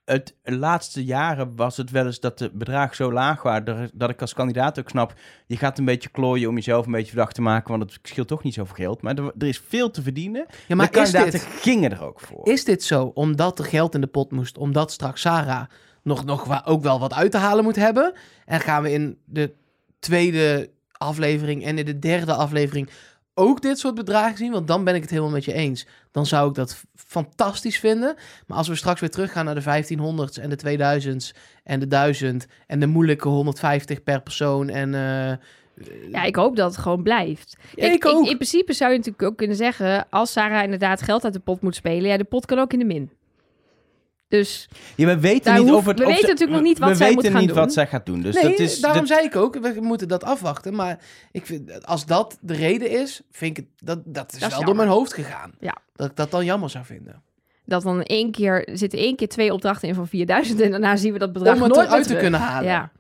Het laatste jaren was het wel eens dat de bedragen zo laag waren... dat- dat ik als kandidaat ook snap... je gaat een beetje klooien om jezelf een beetje verdacht te maken... want het scheelt toch niet zoveel geld. Maar er, er is veel te verdienen.
Ja,
Maar
maar
de
is
kandidaten
dit,
gingen er ook voor.
is dit zo omdat er geld in de pot moest? Omdat straks Sarah nog, nog wa- ook wel wat uit te halen moet hebben? En gaan we in de tweede aflevering en in de derde aflevering ook dit soort bedragen zien? Want dan ben ik het helemaal met je eens. Dan zou ik dat f- fantastisch vinden. Maar als we straks weer teruggaan naar de 1500s en de 2000s en de 1000 en de moeilijke 150 per persoon en... eh,
Ja, ik hoop dat het gewoon blijft. Kijk,
ik ook.
in principe zou je natuurlijk ook kunnen zeggen... als Sarah inderdaad geld uit de pot moet spelen... ja, de pot kan ook in de min. Dus
Ja, we weten,
Daar
niet
hoeft-
of het,
we
of
weten
ze-
natuurlijk nog niet wat
we
zij moet
weten
gaan
niet
doen.
wat zij gaat doen. Dus
nee,
dat is,
daarom
dat-
zei ik ook, we moeten dat afwachten. Maar ik vind, als dat de reden is, vind ik het, dat, dat is
Dat is
wel door
jammer.
mijn hoofd gegaan.
Ja.
Dat ik dat dan jammer zou vinden.
dat dan in één keer... er zitten één keer twee opdrachten in van 4000... en daarna zien we dat bedrag
Om het
nooit meer
eruit te
terug.
kunnen halen.
Ja.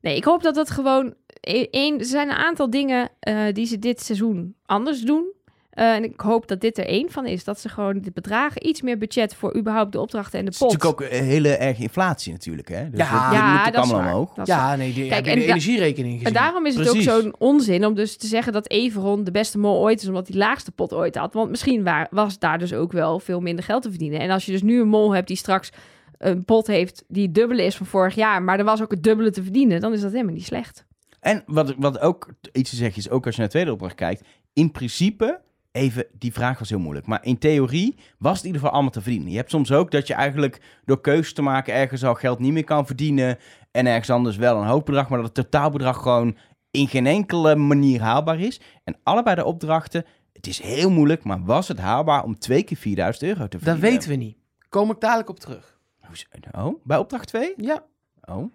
Nee, ik hoop dat dat gewoon... e- één- er zijn een aantal dingen eh, die ze dit seizoen anders doen. Eh, en ik hoop dat dit er één van is. Dat ze gewoon de bedragen, iets meer budget voor überhaupt de opdrachten en de
Het is
pot.
natuurlijk ook een hele erge inflatie natuurlijk. Hè? Dus
Ja.
dat- dat
Ja,
moet ook
dat is
allemaal
waar.
omhoog.
Dat is
Ja, nee, die,
Kijk,
heb je
en
de
da-
energierekening gezien.
En daarom is het
Precies.
ook zo'n onzin om dus te zeggen dat Everon de beste mol ooit is, omdat hij de laagste pot ooit had. Want misschien wa- was daar dus ook wel veel minder geld te verdienen. En als je dus nu een mol hebt die straks een pot heeft die het dubbele is van vorig jaar, maar er was ook het dubbele te verdienen, dan is dat helemaal niet slecht.
En wat, wat ook iets te zeggen is, ook als je naar de tweede opdracht kijkt. In principe, even, die vraag was heel moeilijk. Maar in theorie was het in ieder geval allemaal te verdienen. Je hebt soms ook dat je eigenlijk door keuzes te maken ergens al geld niet meer kan verdienen. En ergens anders wel een hoog bedrag. Maar dat het totaalbedrag gewoon in geen enkele manier haalbaar is. En allebei de opdrachten, het is heel moeilijk. Maar was het haalbaar om twee keer 4000 euro te
Dat
verdienen?
weten we niet. Kom ik dadelijk op terug.
Oh, bij opdracht 2?
Ja.
Oh,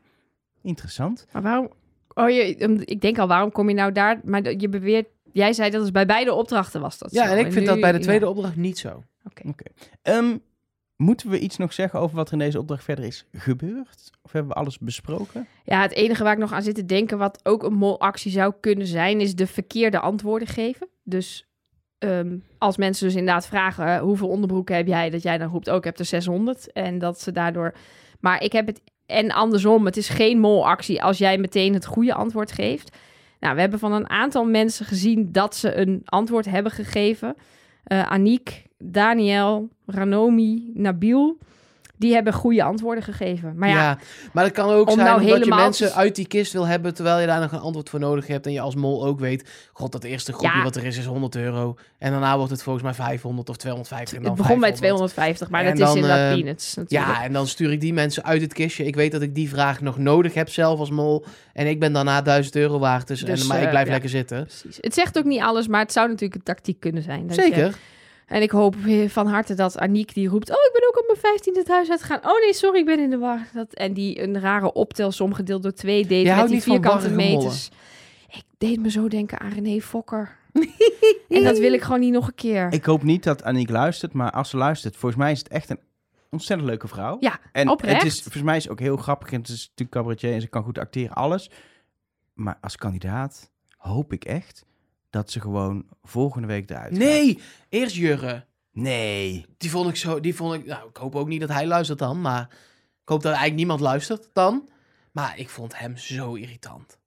interessant.
Maar waarom? Oh, je, um, ik denk al, waarom kom je nou daar? Maar dat- je beweert, jij zei dat het bij beide opdrachten was dat.
Ja,
zo.
en ik vind
nu-
dat bij de
ja.
tweede opdracht niet zo.
Ehm, moeten we iets nog zeggen over wat er in deze opdracht verder is gebeurd? Of hebben we alles besproken?
Ja, het enige waar ik nog aan zit te denken, wat ook een molactie zou kunnen zijn, is de verkeerde antwoorden geven. Dus ehm, als mensen dus inderdaad vragen, eh, hoeveel onderbroeken heb jij? Dat jij dan roept, ook ik heb er 600. En dat ze daardoor... Maar ik heb het... En andersom, het is geen molactie als jij meteen het goede antwoord geeft. Nou, we hebben van een aantal mensen gezien dat ze een antwoord hebben gegeven. Eh Aniek, Daniel, Ranomi, Nabil. Die hebben goede antwoorden gegeven. Maar ja,
maar dat kan ook
Om
zijn
nou
omdat je
helemaal-
mensen uit die kist wil hebben... terwijl je daar nog een antwoord voor nodig hebt... en je als mol ook weet... god, dat eerste groepje
Ja.
wat er is, is 100 euro. En daarna wordt het volgens mij 500 of 250. en dan
Het begon bij
500.
250, maar
En
dat
dan,
is inderdaad
eh,
peanuts natuurlijk.
Ja, en dan stuur ik die mensen uit het kistje. Ik weet dat ik die vraag nog nodig heb zelf als mol. En ik ben daarna 1000 euro waard. Dus, en,
Dus,
maar ik
eh,
blijf
ja.
lekker zitten.
Precies. Het zegt ook niet alles, maar het zou natuurlijk een tactiek kunnen zijn. Dat je-
Zeker.
En ik hoop van harte dat Aniek die roept... Oh, ik ben ook op mijn vijftiende het huis uitgegaan. Oh nee, sorry, ik ben in de war. Dat, en die een rare optelsom gedeeld door twee deed
houdt
met die
niet van
vierkante
warrige mollen.
meters. Ik deed me zo denken aan René
*laughs*
Fokker. en dat wil ik gewoon niet nog een keer.
Ik hoop niet dat Aniek luistert, maar als ze luistert, volgens mij is het echt een ontzettend leuke vrouw.
Ja,
en
oprecht.
het is volgens mij is ze ook heel grappig. En het is natuurlijk cabaretier en ze kan goed acteren, alles. Maar als kandidaat hoop ik echt dat ze gewoon volgende week eruit gaat.
Nee, eerst Jurre.
Nee.
Die vond ik zo. Die vond ik. Nou, ik hoop ook niet dat hij luistert dan. Maar ik hoop dat eigenlijk niemand luistert dan. Maar ik vond hem zo irritant.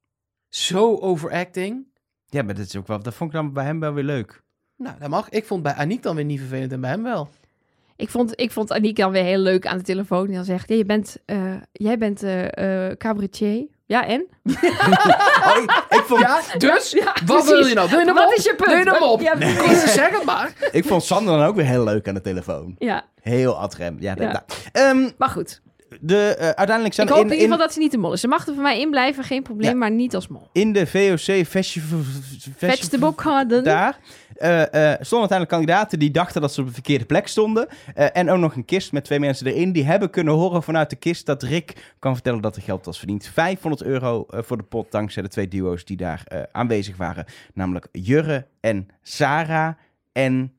Zo overacting.
Ja, maar dat, is ook wel, dat vond ik dan bij hem wel weer leuk.
Nou, dat mag. Ik vond bij Aniek dan weer niet vervelend en bij hem wel.
Ik vond, ik vond Aniek dan weer heel leuk aan de telefoon. Die dan zegt, ja, je bent, eh, jij bent eh, eh, cabaretier. Ja, en?
Oh, ik, vond,
Ja, dus?
Ja,
wat wil
precies.
je nou? Wil je hem
Wat
op?
is je punt?
Wil je hem
Wat-
op?
Ja, precies.
Zeg het
*laughs*
maar.
ik vond Sander dan ook weer heel leuk aan de telefoon.
Ja,
Heel adrem. Ja, dat-
Ja.
nou. Ehm,
maar goed.
de, eh, uiteindelijk zijn
ik
er
hoop
in,
in ieder
in,
geval dat ze niet de mol is. Ze mag er voor mij in blijven, geen probleem,
Ja.
maar niet als mol.
in de VOC Festival... Festival-
Vegetable garden.
daar. eh, eh, stonden uiteindelijk kandidaten die dachten dat ze op de verkeerde plek stonden. Eh, en ook nog een kist met twee mensen erin. Die hebben kunnen horen vanuit de kist dat Rick kan vertellen dat er geld was verdiend. 500 euro eh, voor de pot dankzij de twee duo's die daar eh, aanwezig waren. Namelijk Jurre en Sarah. En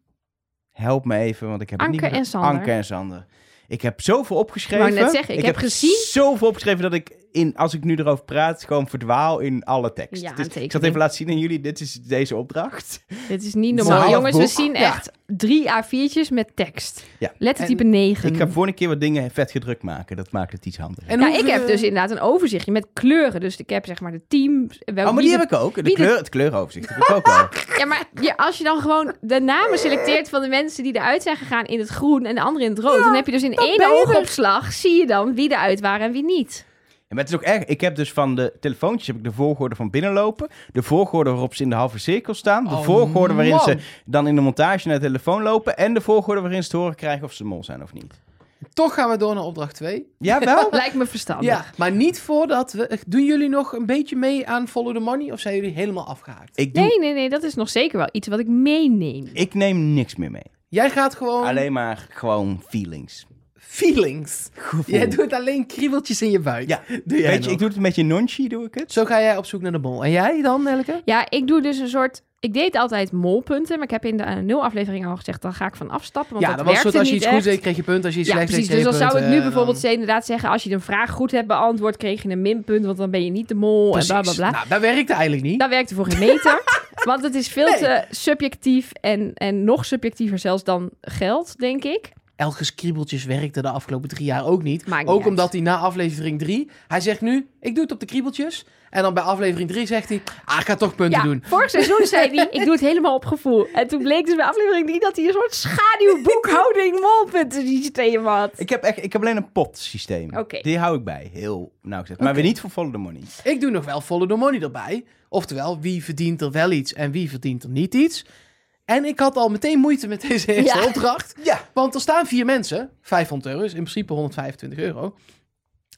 help me even, want ik heb het
Anke
niet meer-
en Sander.
Anke en Sander. Ik heb zoveel opgeschreven.
Ik wou net zeggen, ik heb gezien-
zoveel opgeschreven dat ik, in, als ik nu erover praat, gewoon verdwaal in alle tekst.
Ja,
Dus
een
ik zal het
tekening.
even laten zien aan jullie. Dit is deze opdracht.
Dit is niet
Zo'n
normaal.
half
Jongens, we
boek.
zien
Ja.
echt drie A4'tjes met tekst.
Ja.
Lettertype
En
9.
Ik ga voor een keer wat dingen vet gedrukt maken. Dat maakt het iets handiger.
En
Nou,
hoeveel-
ik heb dus inderdaad een overzichtje met kleuren. Dus ik heb zeg maar de team.
oh, maar die heb ik ook. De
wie de-
kleur, Het kleuroverzicht heb ik ook
*laughs*
al.
Ja, maar ja, als je dan gewoon de namen selecteert van de mensen die eruit zijn gegaan in het groen en de anderen in het rood. dan heb je dus in één
ben je er.
oogopslag zie je dan wie eruit waren en wie niet.
Ja, maar het is ook erg. Ik heb dus van de telefoontjes heb ik de volgorde van binnenlopen. De volgorde waarop ze in de halve cirkel staan. De
Oh,
volgorde waarin
man.
ze dan in de montage naar de telefoon lopen. En de volgorde waarin ze te horen krijgen of ze mol zijn of niet.
Toch gaan we door naar opdracht 2.
Ja,
*laughs*
wel?
Lijkt me verstandig.
Ja, maar niet voordat we... Doen jullie nog een beetje mee aan Follow the Money? Of zijn jullie helemaal afgehaakt?
Ik, doe,
Nee, nee, nee, dat is nog zeker wel iets wat ik meeneem.
ik neem niks meer mee.
Jij gaat
Oh.
gewoon...
Alleen maar gewoon feelings.
Feelings.
Gevoel.
Jij doet alleen kriebeltjes in je buik.
Ja.
Doe jij
Weet je,
nog.
ik doe het een beetje nonchi, doe ik het.
Zo ga jij op zoek naar de bol. En jij dan, Nelke?
Ja, ik doe dus een soort. Ik deed altijd molpunten, maar ik heb in de eh, nul aflevering al gezegd, dan ga ik van afstappen. Want
ja,
dat
dat was
werkte
soort als je
niet
iets goeds
echt.
deed, kreeg je punten. Als je iets
Ja,
slechts
precies.
deed,
Dus dan
kreeg je
zou ik
punten. eh,
nu
En dan-
bijvoorbeeld ze inderdaad zeggen: als je een vraag goed hebt beantwoord, kreeg je een minpunt, want dan ben je niet de mol
Precies.
en bla bla bla.
Nou, dat werkte eigenlijk niet.
Dat werkte voor geen
*laughs*
meter. want het is veel
Nee.
te subjectief en, en nog subjectiever zelfs dan geld, denk ik.
Elkes kriebeltjes werkte de afgelopen drie jaar ook niet.
Maakt niet
ook
uit.
omdat hij na aflevering drie... Hij zegt nu, ik doe het op de kriebeltjes. En dan bij aflevering drie zegt hij... Ah, ik ga toch punten
ja,
doen.
vorig seizoen
*laughs*
zei hij, ik doe het helemaal op gevoel. En toen bleek dus bij aflevering 3 dat hij een soort schaduwboekhouding molpunten systeem had.
Ik heb, echt, ik heb alleen een potsysteem.
Oké.
Die hou ik bij. Heel nauwgezet. Maar weer niet voor Follow the Money.
Ik doe nog wel follow the money erbij. Oftewel, wie verdient er wel iets en wie verdient er niet iets. En ik had al meteen moeite met deze eerste
Ja.
opdracht.
Ja.
Want er staan vier mensen. 500 euro is in principe 125 euro.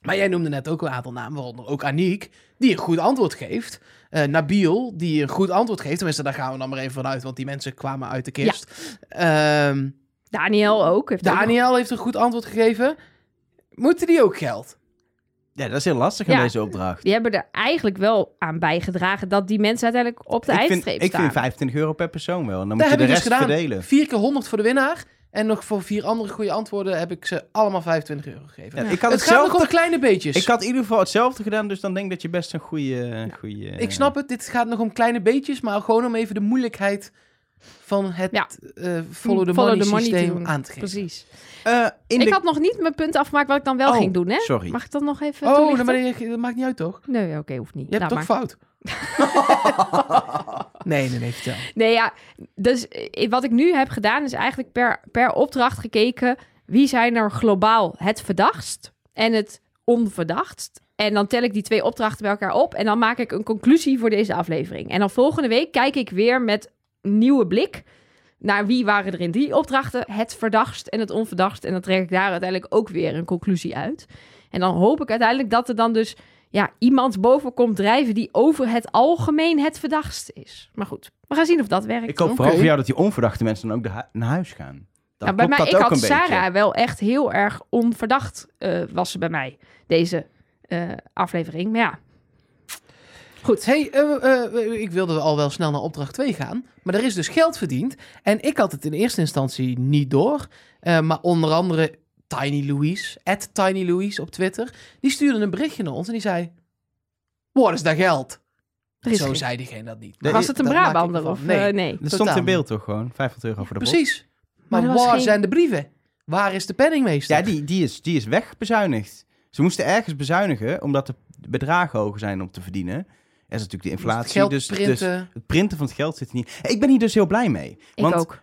Maar jij noemde net ook een aantal namen, waaronder ook Aniek, die een goed antwoord geeft. Eh, Nabil, die een goed antwoord geeft. Tenminste, daar gaan we dan maar even vanuit, want die mensen kwamen uit de kist. Ehm,
Daniel ook. Heeft ook nog-
Daniel heeft een goed antwoord gegeven. Moeten die ook geld?
Ja, dat is heel lastig aan
Ja.
deze opdracht.
die hebben er eigenlijk wel aan bijgedragen dat die mensen uiteindelijk op de
ik
eindstreep
vind, ik
staan.
vind 25 euro per persoon wel. En dan
Daar
moet je
heb ik
de
dus
rest
gedaan.
verdelen.
Vier keer 100 voor de winnaar. En nog voor vier andere goede antwoorden heb ik ze allemaal 25 euro gegeven.
Ja,
Ja.
Ik had
het gaat nog om
hetzelfde.
kleine beetjes.
Ik had in ieder geval hetzelfde gedaan, dus dan denk ik dat je best een goede. goede
Ik snap het, dit gaat nog om kleine beetjes, maar gewoon om even de moeilijkheid van het
Ja. Hm,
eh, follow the
Follow
money
the money te
systeem
doen.
aan te geven.
Precies.
Eh, in
Ik
de...
had nog niet mijn punt afgemaakt wat ik dan wel
Oh,
ging doen, hè?
sorry.
Mag ik dat nog even
Oh,
toelichten?
dan ben je, dat maakt niet uit toch?
Nee, oké, hoeft niet.
Je hebt
Laat
toch
Nou, maar.
*laughs*
fout? nee, nee, nee, vertel.
Nee, ja. Dus eh, wat ik nu heb gedaan is eigenlijk per, per opdracht gekeken... wie zijn er globaal het verdachtst en het onverdachtst. En dan tel ik die twee opdrachten bij elkaar op... en dan maak ik een conclusie voor deze aflevering. En dan volgende week kijk ik weer met nieuwe blik... naar wie waren er in die opdrachten het verdachtst en het onverdachtst. En dan trek ik daar uiteindelijk ook weer een conclusie uit. En dan hoop ik uiteindelijk dat er dan dus... ja, iemand boven komt drijven die over het algemeen het verdachtst is. Maar goed, we gaan zien of dat werkt.
Ik hoop vooral
Oké.
voor jou dat die onverdachte mensen dan ook de hu- naar huis gaan. Dan
nou, bij mij,
klopt
ik
dat ook
had
een beetje.
Sarah wel echt heel erg onverdacht eh, was ze bij mij, deze eh, aflevering. Maar ja, goed.
Hey, eh, eh, ik wilde al wel snel naar opdracht 2 gaan. Maar er is dus geld verdiend. En ik had het in eerste instantie niet door. Eh, maar onder andere Tiny Louise, at Tiny Louise op Twitter. Die stuurde een berichtje naar ons en die zei... Waar is dat geld?
Er is
Zo
geen-
zei diegene dat niet.
Nee,
was het een
dat maak ik
Brabander
ervan.
of
Nee.
eh, nee?
Dat
Totaal
stond in
niet.
beeld toch gewoon? 500 euro voor de bot.
Precies. Maar,
er was
waar
geen-
zijn de brieven? Waar is de penningmeester?
Ja, die, die, is, die is wegbezuinigd. Ze moesten ergens bezuinigen, omdat de bedragen hoger zijn om te verdienen. Er is natuurlijk de inflatie,
Geld
dus, dus
printen.
het printen van het geld zit er niet. Ik ben hier dus heel blij mee.
Ik
want
ook.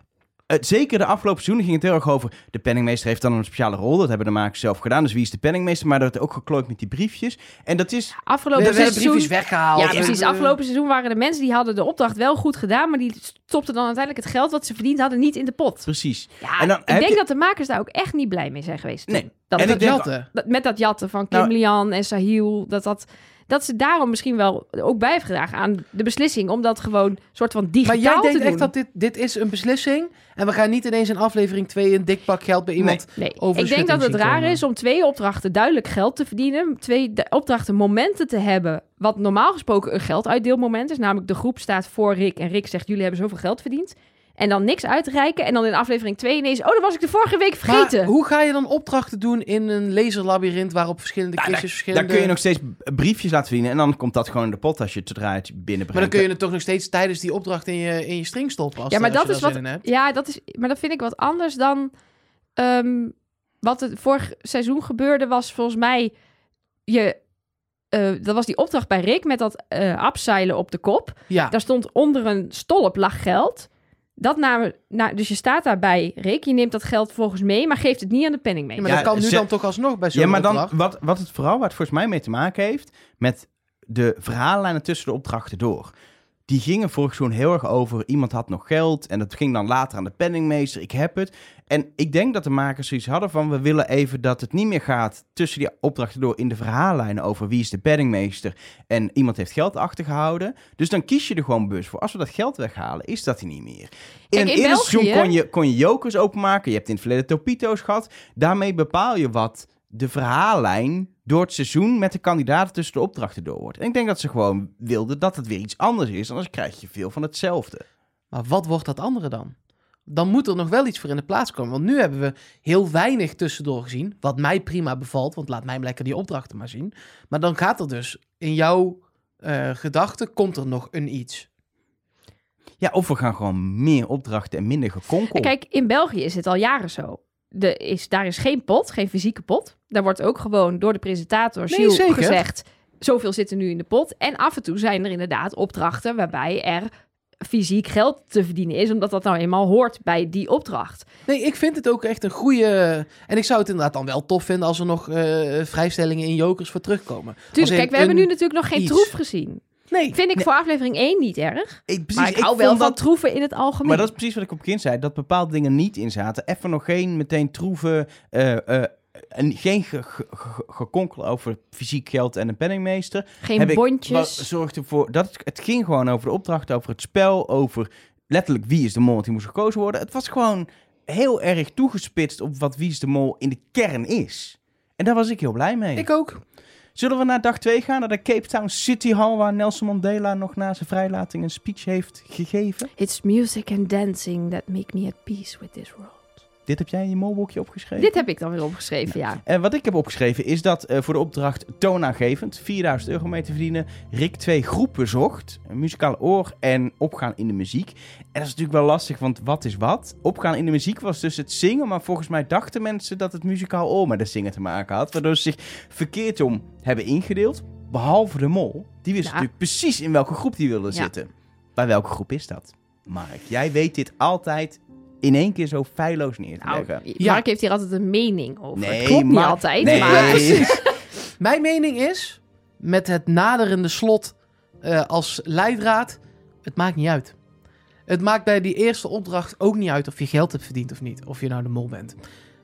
Het, zeker de afgelopen seizoenen ging het heel erg over... de penningmeester heeft dan een speciale rol. Dat hebben de makers zelf gedaan. Dus wie is de penningmeester? Maar dat werd ook geklooid met die briefjes. En dat is...
We
Afgelopen
hebben de
seizoen...
briefjes weggehaald.
Oh,
eh,
Ja, precies. Afgelopen seizoen waren de mensen die hadden de opdracht wel goed gedaan, maar die stopten dan uiteindelijk het geld wat ze verdiend hadden niet in de pot.
Precies.
Ja,
En dan
ik
heb
denk
je-
dat de makers daar ook echt niet blij mee zijn geweest. toen.
Nee.
Dat
En
het-
Dat
ik denk-
geld, hè?
dat- met dat jatten van Kim
Nou-
Lian en Sahil, dat, dat, dat ze daarom misschien wel ook bij heeft gedragen aan de beslissing om dat gewoon soort van digitaal
Maar jij denkt
te doen.
echt dat dit, dit is een beslissing En we gaan niet ineens in aflevering 2 een dik pak geld bij iemand...
Nee, ik denk
overschutting
dat het
zien
raar
komen.
is om twee opdrachten duidelijk geld te verdienen. Twee de- opdrachten momenten te hebben. Wat normaal gesproken een gelduitdeelmoment is. Namelijk de groep staat voor Rick en Rick zegt jullie hebben zoveel geld verdiend. En dan niks uitreiken. En dan in aflevering 2 ineens. Oh, dat was ik de vorige week vergeten.
Maar hoe ga je dan opdrachten doen in een laserlabyrinth... waarop verschillende
Nou,
kistjes
Daar
verschillende...
kun je nog steeds b- briefjes laten verdienen. En dan komt dat gewoon in de pot als je het zodra je het binnenbrengt.
Maar dan kun je het toch nog steeds tijdens die opdracht in je, in je string stoppen. Als
ja, maar
als je
dat is
daar
wat.
zin in hebt.
Ja, dat is. Maar dat vind ik wat anders dan. ehm, wat het vorig seizoen gebeurde, was volgens mij. Je, eh, dat was die opdracht bij Rick met dat eh abseilen op de kop.
Ja,
Daar stond onder een stolp lag geld. Dat namen, nou, dus je staat daarbij, Rick. Je neemt dat geld volgens mee, maar geeft het niet aan de penning mee.
Ja, maar
Ja,
dat kan nu
ze-
dan toch alsnog bij zo'n
Ja, maar dan,
opdracht.
wat, wat het vooral waar het volgens mij mee te maken heeft, met de verhaallijnen tussen de opdrachten door. Die gingen vorig seizoen heel erg over, iemand had nog geld en dat ging dan later aan de penningmeester, ik heb het. En ik denk dat de makers zoiets hadden van, we willen even dat het niet meer gaat tussen die opdrachten door in de verhaallijnen over wie is de penningmeester en iemand heeft geld achtergehouden. Dus dan kies je er gewoon bewust voor. Als we dat geld weghalen, is dat hij niet meer. In
Kijk,
het
in
eerste seizoen
België-
kon je, kon je jokers openmaken, je hebt in het verleden topito's gehad. Daarmee bepaal je wat de verhaallijn door het seizoen met de kandidaten tussen de opdrachten door wordt. En ik denk dat ze gewoon wilden dat het weer iets anders is, anders krijg je veel van hetzelfde.
Maar wat wordt dat andere dan? Dan moet er nog wel iets voor in de plaats komen. Want nu hebben we heel weinig tussendoor gezien. Wat mij prima bevalt, want laat mij hem lekker die opdrachten maar zien. Maar dan gaat er dus in jouw eh gedachten komt er nog een iets.
Ja, of we gaan gewoon meer opdrachten en minder gekonkel.
En kijk, in België is het al jaren zo. De, is, daar is geen pot, geen fysieke pot. Daar wordt ook gewoon door de presentator
Nee,
Gilles,
zeker.
gezegd... zoveel zit er nu in de pot. En af en toe zijn er inderdaad opdrachten... waarbij er fysiek geld te verdienen is... omdat dat nou eenmaal hoort bij die opdracht.
Nee, ik vind het ook echt een goede. En ik zou het inderdaad dan wel tof vinden als er nog eh, vrijstellingen in jokers voor terugkomen. Als in
Tuurlijk, Dus kijk, we hebben nu
een-
natuurlijk nog geen
iets.
troef gezien.
Nee,
Vind ik voor aflevering 1 niet erg.
ik, precies,
maar ik, hou wel
vond
van
dat-
troeven in het algemeen.
Maar dat is precies wat ik op kind zei, dat bepaalde dingen niet in zaten. Even nog geen meteen troeven, eh, eh, en geen ge- ge- ge- gekonkel over fysiek geld en een penningmeester.
Geen
heb ik- Maar
bondjes.
zorg ervoor dat het, het ging gewoon over de opdracht, over het spel, over letterlijk wie is de mol want die moest gekozen worden. Het was gewoon heel erg toegespitst op wat wie is de mol in de kern is. En daar was ik heel blij mee.
ik ook.
Zullen we naar dag 2 gaan, naar de Cape Town City Hall, waar Nelson Mandela nog na zijn vrijlating een speech heeft gegeven?
It's music and dancing that make me at peace with this world.
Dit heb jij in je molboekje opgeschreven?
Dit heb ik dan weer opgeschreven, ja.
En wat ik heb opgeschreven is dat eh, voor de opdracht toonaangevend 4000 euro mee te verdienen, Rick twee groepen zocht. Een muzikaal oor en opgaan in de muziek. En dat is natuurlijk wel lastig, want wat is wat? Opgaan in de muziek was dus het zingen, maar volgens mij dachten mensen dat het muzikaal oor met het zingen te maken had. Waardoor ze zich verkeerd om hebben ingedeeld, behalve de mol. Die wist
Ja.
natuurlijk precies in welke groep die wilde
Ja.
zitten. Bij welke groep is dat? Mark, jij weet dit altijd in één keer zo feilloos neer te
Nou,
leggen.
Ja.
Mark heeft hier altijd een mening over.
Nee,
het klopt niet
maar-
altijd,
nee.
maar...
Mijn mening is, met het naderende slot eh, als leidraad, het maakt niet uit. Het maakt bij die eerste opdracht ook niet uit of je geld hebt verdiend of niet. Of je nou de mol bent.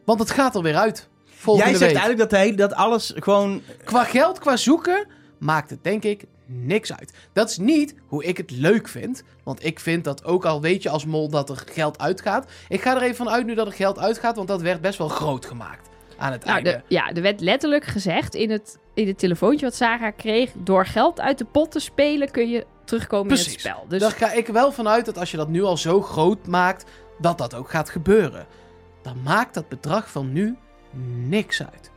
Want het gaat er weer uit. Volgende
Jij zegt
week.
eigenlijk dat, hij, dat alles gewoon...
Qua geld, qua zoeken, maakt het denk ik niks uit. Dat is niet hoe ik het leuk vind. Want ik vind dat ook al weet je als mol dat er geld uitgaat. Ik ga er even van uit nu dat er geld uitgaat, want dat werd best wel groot gemaakt aan het
Nou,
einde.
de, ja, er werd letterlijk gezegd in het, in het telefoontje wat Sarah kreeg... door geld uit de pot te spelen kun je terugkomen in het
Precies.
spel. Dus
Daar ga ik wel vanuit dat als je dat nu al zo groot maakt, dat dat ook gaat gebeuren. Dan maakt dat bedrag van nu niks uit.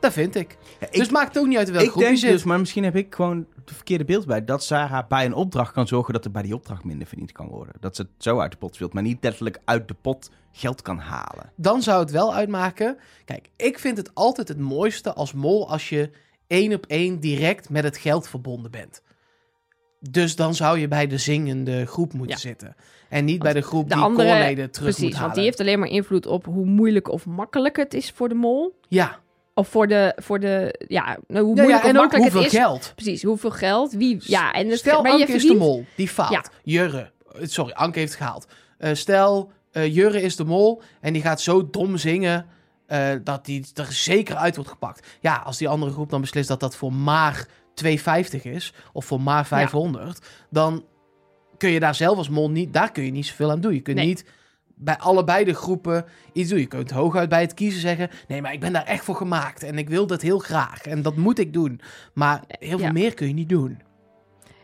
Dat vind ik.
Ja, ik,
dus maakt het ook niet uit in welk
ik
groep je
denk
zit.
dus, maar misschien heb ik gewoon het verkeerde beeld bij, dat Sarah bij een opdracht kan zorgen dat er bij die opdracht minder verdiend kan worden. Dat ze het zo uit de pot speelt, maar niet letterlijk uit de pot geld kan halen.
Dan zou het wel uitmaken. Kijk, ik vind het altijd het mooiste als mol als je één op één direct met het geld verbonden bent. Dus dan zou je bij de zingende groep moeten
Ja.
zitten. En niet
Want
bij de groep
de
die
andere-
koorleden terug moet
precies,
halen.
want die heeft alleen maar invloed op hoe moeilijk of makkelijk het is voor de mol.
Ja,
Of voor de, voor de ja, nou, hoe
ja,
moeilijk
ja
of
en ook
makkelijk
hoeveel
het is.
geld.
Precies, hoeveel geld, wie, ja. En het,
stel
maar
Anke
je
is de
verdient,
mol, die faalt.
Ja.
Jurre, eh, sorry, Anke heeft gehaald. Eh, stel, eh, Jurre is de mol en die gaat zo dom zingen eh, dat die er zeker uit wordt gepakt. Ja, als die andere groep dan beslist dat dat voor maar 2,50 is of voor maar 500, dan kun je daar zelf als mol niet, daar kun je niet zoveel aan doen. Je kunt
Nee.
niet bij allebei de groepen iets doen. Je kunt hooguit bij het kiezen zeggen... nee, maar ik ben daar echt voor gemaakt... en ik wil dat heel graag en dat moet ik doen. Maar heel veel
Ja.
meer kun je niet doen.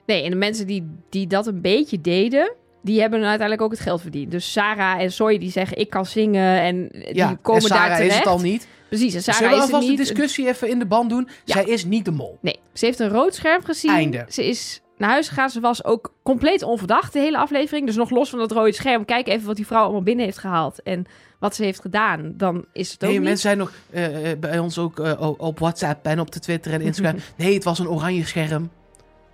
Nee, en de mensen die, die dat een beetje deden, die hebben uiteindelijk ook het geld verdiend. Dus Sarah en Soy die zeggen, ik kan zingen en die komen
en Sarah
daar terecht.
is het al niet.
Precies, en
Zullen
Sarah
we
is het
alvast de
niet.
discussie even in de band doen?
Ja.
Zij is niet de mol.
Nee, ze heeft een rood scherm gezien.
Einde.
Ze is naar huis gegaan. Ze was ook compleet onverdacht de hele aflevering. Dus nog los van dat rode scherm, kijk even wat die vrouw allemaal binnen heeft gehaald. En wat ze heeft gedaan, dan is het ook
Nee,
niet.
mensen zijn nog eh, eh, bij ons ook eh, o- op WhatsApp en op de Twitter en Instagram.
*laughs*
nee, het was een oranje scherm.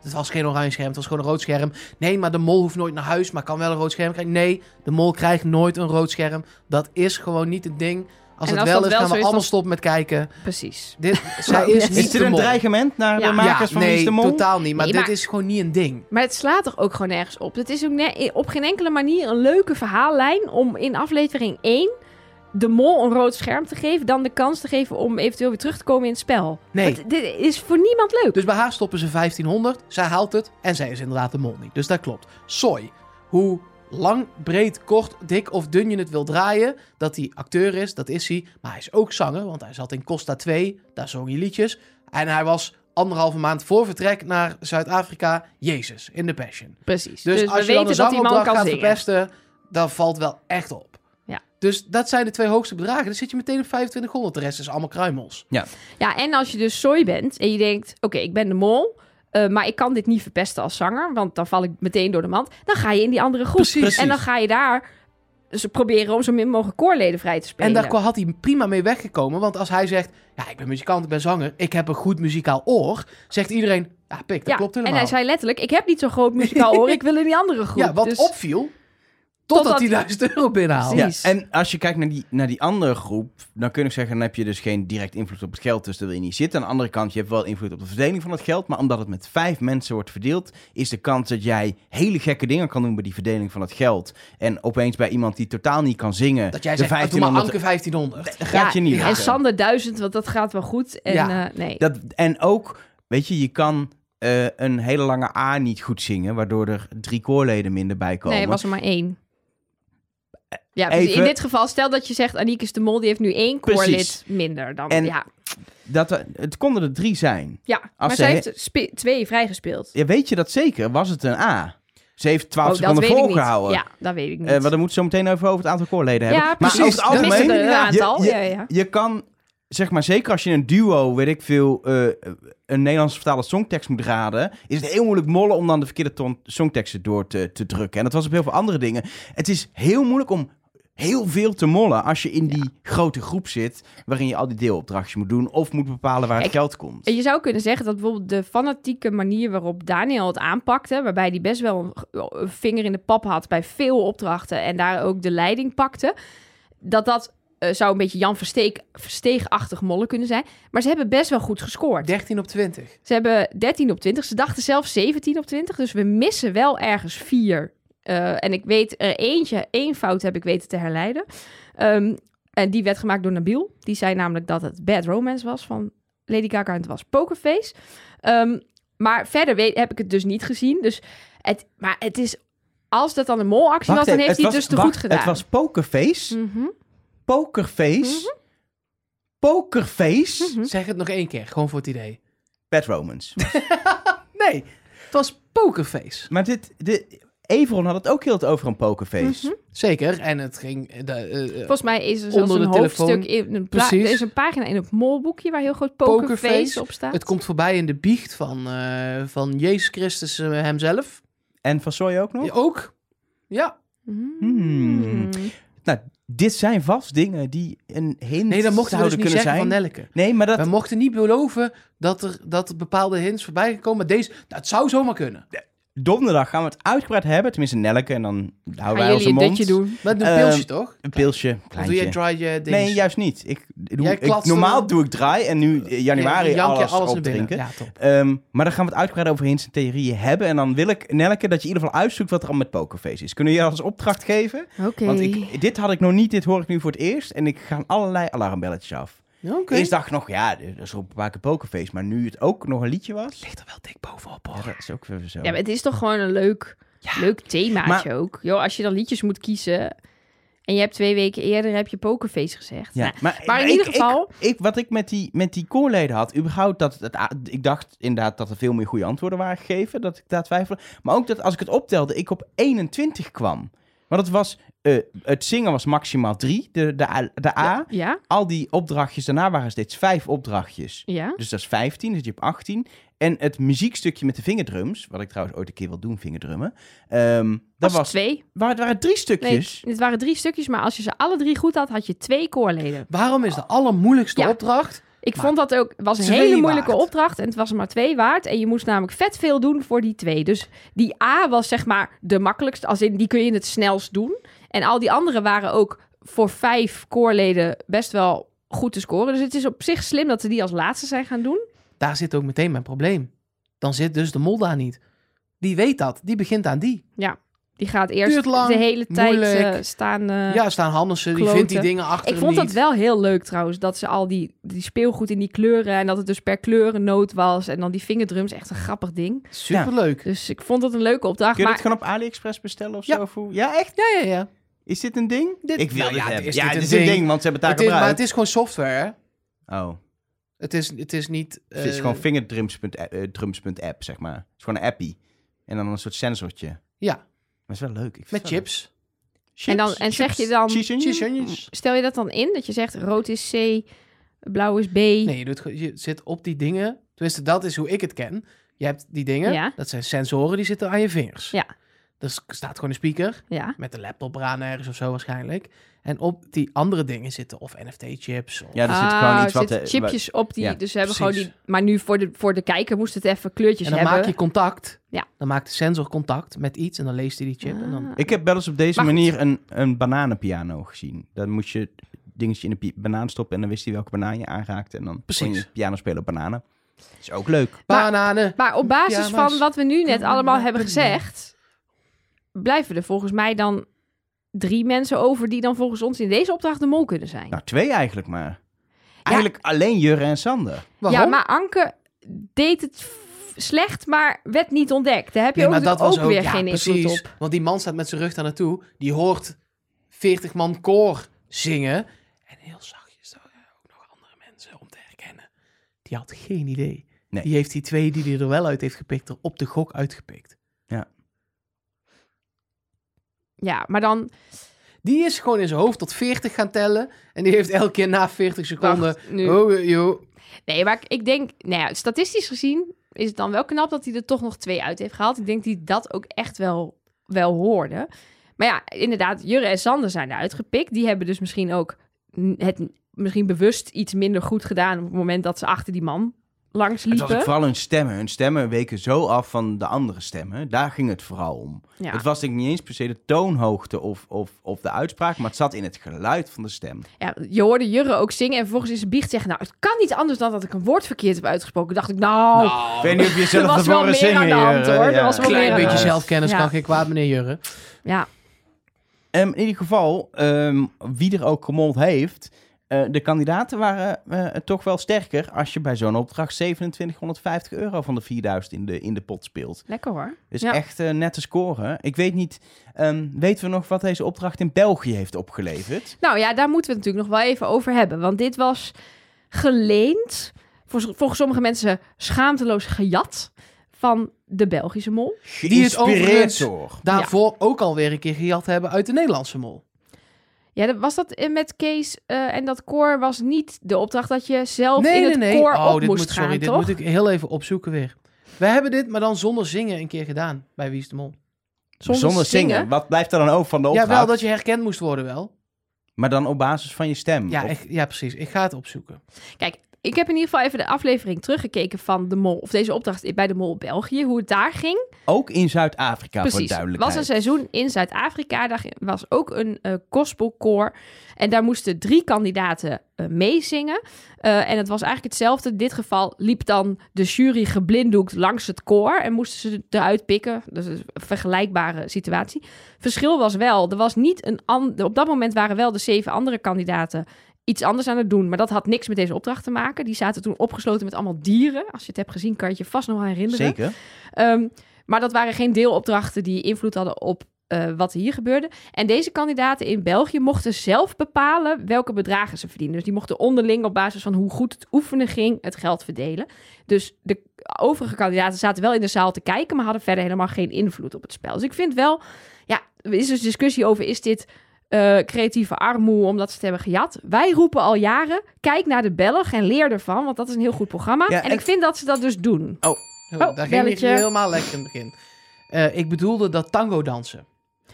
Het was geen oranje scherm, het was gewoon een rood scherm. Nee, maar de mol hoeft nooit naar huis, maar kan wel een rood scherm krijgen. Nee, de mol krijgt nooit een rood scherm. Dat is gewoon niet het ding. Als
En
het
als
wel
dat wel
is, gaan
zo
we
is,
allemaal
dan- Nou,
stoppen met kijken.
Precies. *laughs*
Dit, zij is niet
Is dit
de
een
mol.
dreigement naar
Ja.
de makers
ja,
van Wie is
nee,
de Mol?
totaal niet. Maar
Nee,
dit
maar-
is gewoon niet een ding.
Maar het slaat toch ook gewoon nergens op. Het is ook ne- op geen enkele manier een leuke verhaallijn om in aflevering 1 de mol een rood scherm te geven, dan de kans te geven om eventueel weer terug te komen in het spel.
Nee.
Want dit is voor niemand leuk.
Dus bij haar stoppen ze 1500, zij haalt het en zij is inderdaad de mol niet. Dus dat klopt. Soy, hoe lang, breed, kort, dik of dun je het wil draaien, dat hij acteur is, dat is hij. Maar hij is ook zanger, want hij zat in Costa 2, daar zong hij liedjes. En hij was anderhalve maand voor vertrek naar Zuid-Afrika, Jezus, in The Passion.
Precies.
Dus,
we
als je dan een
weten dat die man
zangopdracht
kan
gaat
zingen.
verpesten, dan valt wel echt op.
Ja.
Dus dat zijn de twee hoogste bedragen. Dan zit je meteen op 2500. De rest is allemaal kruimels.
Ja, en als je dus sooi bent en je denkt, oké, ik ben de mol, eh, maar ik kan dit niet verpesten als zanger, want dan val ik meteen door de mand. Dan ga je in die andere groep.
Precies.
En dan ga je daar ze proberen om zo min mogelijk koorleden vrij te spelen.
En daar kwa- had hij prima mee weggekomen. Want als hij zegt, ja, ik ben muzikant, ik ben zanger, ik heb een goed muzikaal oor. Zegt iedereen, ja, pik, dat
ja,
klopt
en
helemaal.
hij zei letterlijk, ik heb niet zo'n groot muzikaal oor, ik wil in die andere groep.
ja, wat
Dus-
opviel, totdat
Totdat-
hij 1000 euro binnenhaalde.
Ja,
Precies.
en als je kijkt naar die, naar die andere groep, dan kun je zeggen, dan heb je dus geen direct invloed op het geld, dus daar wil je niet zitten. Aan de andere kant, je hebt wel invloed op de verdeling van het geld, maar omdat het met vijf mensen wordt verdeeld, is de kans dat jij hele gekke dingen kan doen bij die verdeling van het geld. En opeens bij iemand die totaal niet kan zingen,
Dat jij
de
zegt, ah, doe maar
1500
Anke 1500.
dat gaat je
Ja,
niet
En
lukken.
Sander duizend, want dat gaat wel goed. En,
Ja.
eh, nee.
Dat, en ook, weet je, je kan eh, een hele lange A niet goed zingen, waardoor er drie koorleden minder bij komen.
nee, er was er maar één. Ja,
Even-
precies. in dit geval, stel dat je zegt, Aniek is de mol, die heeft nu één koorlid
Precies.
minder dan.
En-
ja,
dat, we- het konden er drie zijn.
ja. maar
ze
zij
he-
heeft spe- twee vrijgespeeld.
Ja, weet je dat zeker? Was het een A? Ze heeft 12
Oh, dat
seconden
weet ik niet.
volgehouden.
Ja, dat weet ik niet.
Eh, want dan moeten we zo meteen over, over het aantal koorleden hebben.
Ja,
Maar
precies.
over het
Dat
miste
algemeen,
er een aantal,
Je,
ja, ja.
je kan, zeg maar, zeker als je een duo, weet ik veel, eh, een Nederlandse vertaalde songtekst moet raden, is het heel moeilijk mollen om dan de verkeerde ton- songteksten door te, te drukken. En dat was op heel veel andere dingen. Het is heel moeilijk om heel veel te mollen als je in die grote groep zit, waarin je al die deelopdrachtjes moet doen of moet bepalen waar het
Ik-
geld komt.
En je zou kunnen zeggen dat bijvoorbeeld de fanatieke manier waarop Daniel het aanpakte, waarbij hij best wel een, een vinger in de pap had bij veel opdrachten en daar ook de leiding pakte, dat dat eh, zou een beetje Jan Versteek, Versteegachtig mollen kunnen zijn. Maar ze hebben best wel goed gescoord.
13 op 20.
Ze hebben 13 op 20. Ze dachten zelf 17 op 20. Dus we missen wel ergens vier. Eh, en ik weet er eentje, één fout heb ik weten te herleiden. Ehm, en die werd gemaakt door Nabil. Die zei namelijk dat het Bad Romance was van Lady Gaga en het was Pokerface. Ehm, maar verder weet, heb ik het dus niet gezien. Dus het, maar het is, als dat dan een molactie was, dan
even,
heeft hij
was-
het dus te
wacht,
goed gedaan.
Het was Pokerface.
Mhm,
Pokerface. Pokerface.
mhm.
Zeg het nog één keer, gewoon voor het idee.
Pat Romans. *laughs*
Nee, het was Pokerface.
maar dit, dit... Everon had het ook heel het over een pokerface.
Mhm.
Zeker, en het ging... eh, de, eh, eh,
Volgens mij is er zelfs
Onder
een
de telefoon.
hoofdstuk in een, pla-
Precies.
er is een pagina in het molboekje waar heel groot
Pokerface.
pokerface, op staat.
het komt voorbij in de biecht van, eh, van Jezus Christus eh, hemzelf.
En van Soy ook nog?
Ja, ook. Ja.
Mhm.
Hmm. Nou, dit zijn vast dingen die een hint
Nee, dat mochten we dus
zouden
niet
kunnen
zeggen
zijn.
van Nelke.
Nee, maar dat...
*laughs* We mochten niet beloven dat er, dat er bepaalde hints voorbij gekomen. Maar deze, nou, het zou zomaar kunnen.
Donderdag gaan we het uitgebreid hebben. Tenminste, Nelke. En dan houden
Gaan
wij
jullie
onze
een
mond.
dutje doen?
Met een
Ehm,
pilsje, toch?
Een pilsje.
Of doe jij
Kleintje.
dry eh, dingen?
Nee, juist niet. Ik, doe,
Jij
ik-
klatst
normaal
er-
doe ik draai en nu eh, januari
Jank je
alles,
naar binnen.
opdrinken.
Ja, top.
Ehm, maar dan gaan we het uitgebreid over hints en theorieën hebben. En dan wil ik, Nelke, dat je in ieder geval uitzoekt wat er al met Pokerface is. Kunnen jullie dat als opdracht geven?
Oké.
Want ik, dit had ik nog niet, dit hoor ik nu voor het eerst. En ik gaan allerlei alarmbelletjes af.
Ja, Oké.
Eerst dacht ik nog, ja, dat is al een paar keer Pokerface. Maar nu het ook nog een liedje was...
Ligt er wel dik bovenop,
Ja,
hoor.
dat is ook weer zo.
Ja, maar het is toch gewoon een leuk, leuk themaatje ook. Joh, als je dan liedjes moet kiezen en je hebt twee weken eerder heb je pokerface gezegd.
Ja,
Nou,
maar,
maar in
ik-
ieder
ik-
geval-
Ik, wat ik met die, met die koorleden had, überhaupt dat het, a- ik dacht inderdaad dat er veel meer goede antwoorden waren gegeven, dat ik daar twijfelde. Maar ook dat als ik het optelde, ik op 21 kwam. Want het was, eh, het zingen was maximaal drie, de, de, A- de A.
ja,
Al die opdrachtjes daarna waren steeds vijf opdrachtjes.
ja.
Dus dat is 15, dus je hebt 18. En het muziekstukje met de vingerdrums, wat ik trouwens ooit een keer wil doen, vingerdrummen. ehm, dat
Dat
was,
was twee.
waar, het waren drie
Nee,
stukjes.
het waren drie stukjes, maar als je ze alle drie goed had, had je twee koorleden.
Waarom is de allermoeilijkste
Ja.
opdracht?
Ik
Maar
vond dat ook, was een
twee
hele moeilijke
waard.
opdracht en het was er maar twee waard. En je moest namelijk vet veel doen voor die twee. Dus die A was zeg maar de makkelijkste, als in die kun je het snelst doen. En al die andere waren ook voor vijf koorleden best wel goed te scoren. Dus het is op zich slim dat ze die als laatste zijn gaan doen.
Daar zit ook meteen mijn probleem. Dan zit dus de mol daar niet. Die weet dat. Die begint aan die.
Die gaat eerst
Duurt lang,
de hele tijd eh,
moeilijk.
staan. eh,
ja, staan Hannessen. Die vindt die
kloten.
dingen achter
ik
hem
vond dat
niet.
wel heel leuk trouwens, dat ze al die, die speelgoed in die kleuren en dat het dus per kleurennoot was en dan die vingerdrums, echt een grappig ding.
Superleuk.
Dus ik vond dat een leuke opdracht.
Kun je
Maar
het gewoon op AliExpress bestellen of
Ja.
zo? Of hoe- Ja, echt?
Ja, ja, ja.
Is dit een ding?
Dit-
Ik wil
Nou
dit
ja,
hebben.
is
ja,
dit
dit
een
is een
ding?
ding, want ze hebben het
Het
daar
is, maar het
gebruikt.
is gewoon software, hè?
Oh,
Het is, het is niet...
Dus het is
eh,
gewoon eh, vingerdrums.app, zeg maar. Het is gewoon een appie. En dan een soort sensortje. Maar
Ja,
het is wel leuk. Ik vind
met
het wel leuk.
chips.
Chips.
En dan- en zeg je dan-
Cheese onion?
Cheese onions.
stel je dat dan in, dat je zegt rood is C, blauw is B.
Nee, je, doet, gewoon- je zit op die dingen. Tenminste, dat is hoe ik het ken. Je hebt die dingen.
Ja.
Dat zijn sensoren die zitten aan je vingers.
Ja.
Er s- staat gewoon een speaker
Ja.
met de laptop eraan ergens of zo waarschijnlijk. En op die andere dingen zitten of NFT-chips. Of...
Ja, er zit
Ah,
gewoon
er
iets wat...
zitten
eh,
chipjes op die,
ja,
dus ze hebben
precies.
gewoon die, maar nu voor de, voor de kijker moest het even kleurtjes
en dan
hebben.
maak je contact.
Ja.
Dan maakt de sensor contact met iets en dan leest hij die chip. En dan...
Ah.
wat- Ik heb wel eens op deze
Maar goed.
manier een, een bananenpiano gezien. Dan moest je het dingetje in de pi- banaan stoppen en dan wist hij welke banaan je aanraakte. En dan kon
Precies.
je piano spelen op bananen. Dat is ook leuk.
Bananen.
Maar op basis
Pyjama's.
van wat we nu net
Pyjama,
allemaal hebben
pyjama.
gezegd, blijven er volgens mij dan drie mensen over die dan volgens ons in deze opdracht de mol kunnen zijn.
Nou, twee eigenlijk maar. Eigenlijk alleen Jurre en Sander.
Waarom?
Ja, maar Anke deed het f- slecht, maar werd niet ontdekt. Daar heb je
Nee,
ook,
maar dat
ook
was ook
weer
ja,
geen invloed
precies.
op.
Want die man staat met zijn rug daar naartoe. Die hoort 40 man koor zingen. En heel zachtjes zo, ja, ook nog andere mensen om te herkennen. Die had geen idee.
Nee.
Die heeft die twee die hij er wel uit heeft gepikt, er op de gok uitgepikt.
Ja, maar dan...
Die is gewoon in zijn hoofd tot 40 gaan tellen. En die heeft elke keer na 40 seconden.
wacht, nu.
Oh, joh.
Nee, maar ik- ik denk... Nou ja, statistisch gezien is het dan wel knap dat hij er toch nog twee uit heeft gehaald. Ik denk die dat ook echt wel, wel hoorde. Maar ja, inderdaad, Jurre en Sander zijn eruit gepikt. Die hebben dus misschien ook n- het misschien bewust iets minder goed gedaan... op het moment dat ze achter die man langs
Het was ook
liepen.
vooral hun stemmen. Hun stemmen weken zo af van de andere stemmen. Daar ging het vooral om.
Ja.
Het was denk ik niet eens per se de toonhoogte of, of, of de uitspraak, maar het zat in het geluid van de stem.
Ja, je hoorde Jurre ook zingen en vervolgens is biecht zeggen... nou, het kan niet anders dan dat ik een woord verkeerd heb uitgesproken. dacht ik, nou,
Ik weet niet of je
Er
zelf
was
ervoor
wel meer
zingen
aan de hand,
hier,
hoor.
eh,
Er was wel
Klein
meer aan
beetje
de
zelfkennis
Ja.
kan geen kwaad, meneer Jurre.
ja.
Ehm, in ieder geval, ehm, wie er ook gemold heeft, eh, de kandidaten waren eh, toch wel sterker als je bij zo'n opdracht 2750 euro van de 4000 in de, in de pot speelt.
Lekker hoor.
Dus
Ja.
echt eh, net te scoren. Ik weet niet, ehm, weten we nog wat deze opdracht in België heeft opgeleverd?
Nou ja, daar moeten we het natuurlijk nog wel even over hebben. Want dit was geleend, voor, volgens sommige mensen schaamteloos gejat, van de Belgische mol.
Die het overigens-
Geïnspireerd door.
Daarvoor ook alweer een keer gejat hebben uit de Nederlandse mol.
Ja, dat- was dat eh, met Kees eh, en dat koor was niet de opdracht dat je zelf
nee,
in
nee,
het
nee.
koor
oh,
op
dit
moest
moet,
gaan,
sorry,
toch?
dit moet ik heel even opzoeken weer. We hebben dit, maar dan zonder zingen, een keer gedaan bij Wie is de Mol.
Zonder, zingen. Wat blijft er dan over van de
Ja,
opdracht?
wel dat je herkend moest worden wel.
Maar dan op basis van je stem.
Ja,
Of-
ik- ja, precies. Ik ga het opzoeken.
Kijk, ik heb in ieder geval even de aflevering teruggekeken van de mol, of deze opdracht bij de mol België, hoe het daar ging.
Ook in Zuid-Afrika, voor
Precies.
duidelijkheid.
was een seizoen in Zuid-Afrika. Daar was ook een eh gospelkoor. En daar moesten drie kandidaten eh, meezingen. Eh, en het was eigenlijk hetzelfde. In dit geval liep dan de jury geblinddoekt langs het koor. En moesten ze eruit pikken. Dus een vergelijkbare situatie. Verschil was wel, er was niet een ander... Op dat moment waren wel de zeven andere kandidaten iets anders aan het doen. Maar dat had niks met deze opdracht te maken. Die zaten toen opgesloten met allemaal dieren. Als je het hebt gezien, kan je het je vast nog wel herinneren.
Zeker.
Ehm, maar dat waren geen deelopdrachten die invloed hadden op eh, wat hier gebeurde. En deze kandidaten in België mochten zelf bepalen welke bedragen ze verdienen. Dus die mochten onderling op basis van hoe goed het oefenen ging het geld verdelen. Dus de overige kandidaten zaten wel in de zaal te kijken, maar hadden verder helemaal geen invloed op het spel. Dus ik vind wel, ja, er is dus discussie over is dit eh, creatieve armoe omdat ze het hebben gejat. Wij roepen al jaren, kijk naar de Belg en leer ervan, want dat is een heel goed programma.
Ja,
en
en-
ik vind dat ze dat dus doen.
Oh,
Oh,
daar ging ik
belletje.
helemaal lekker in het begin. Eh, ik bedoelde dat tango dansen.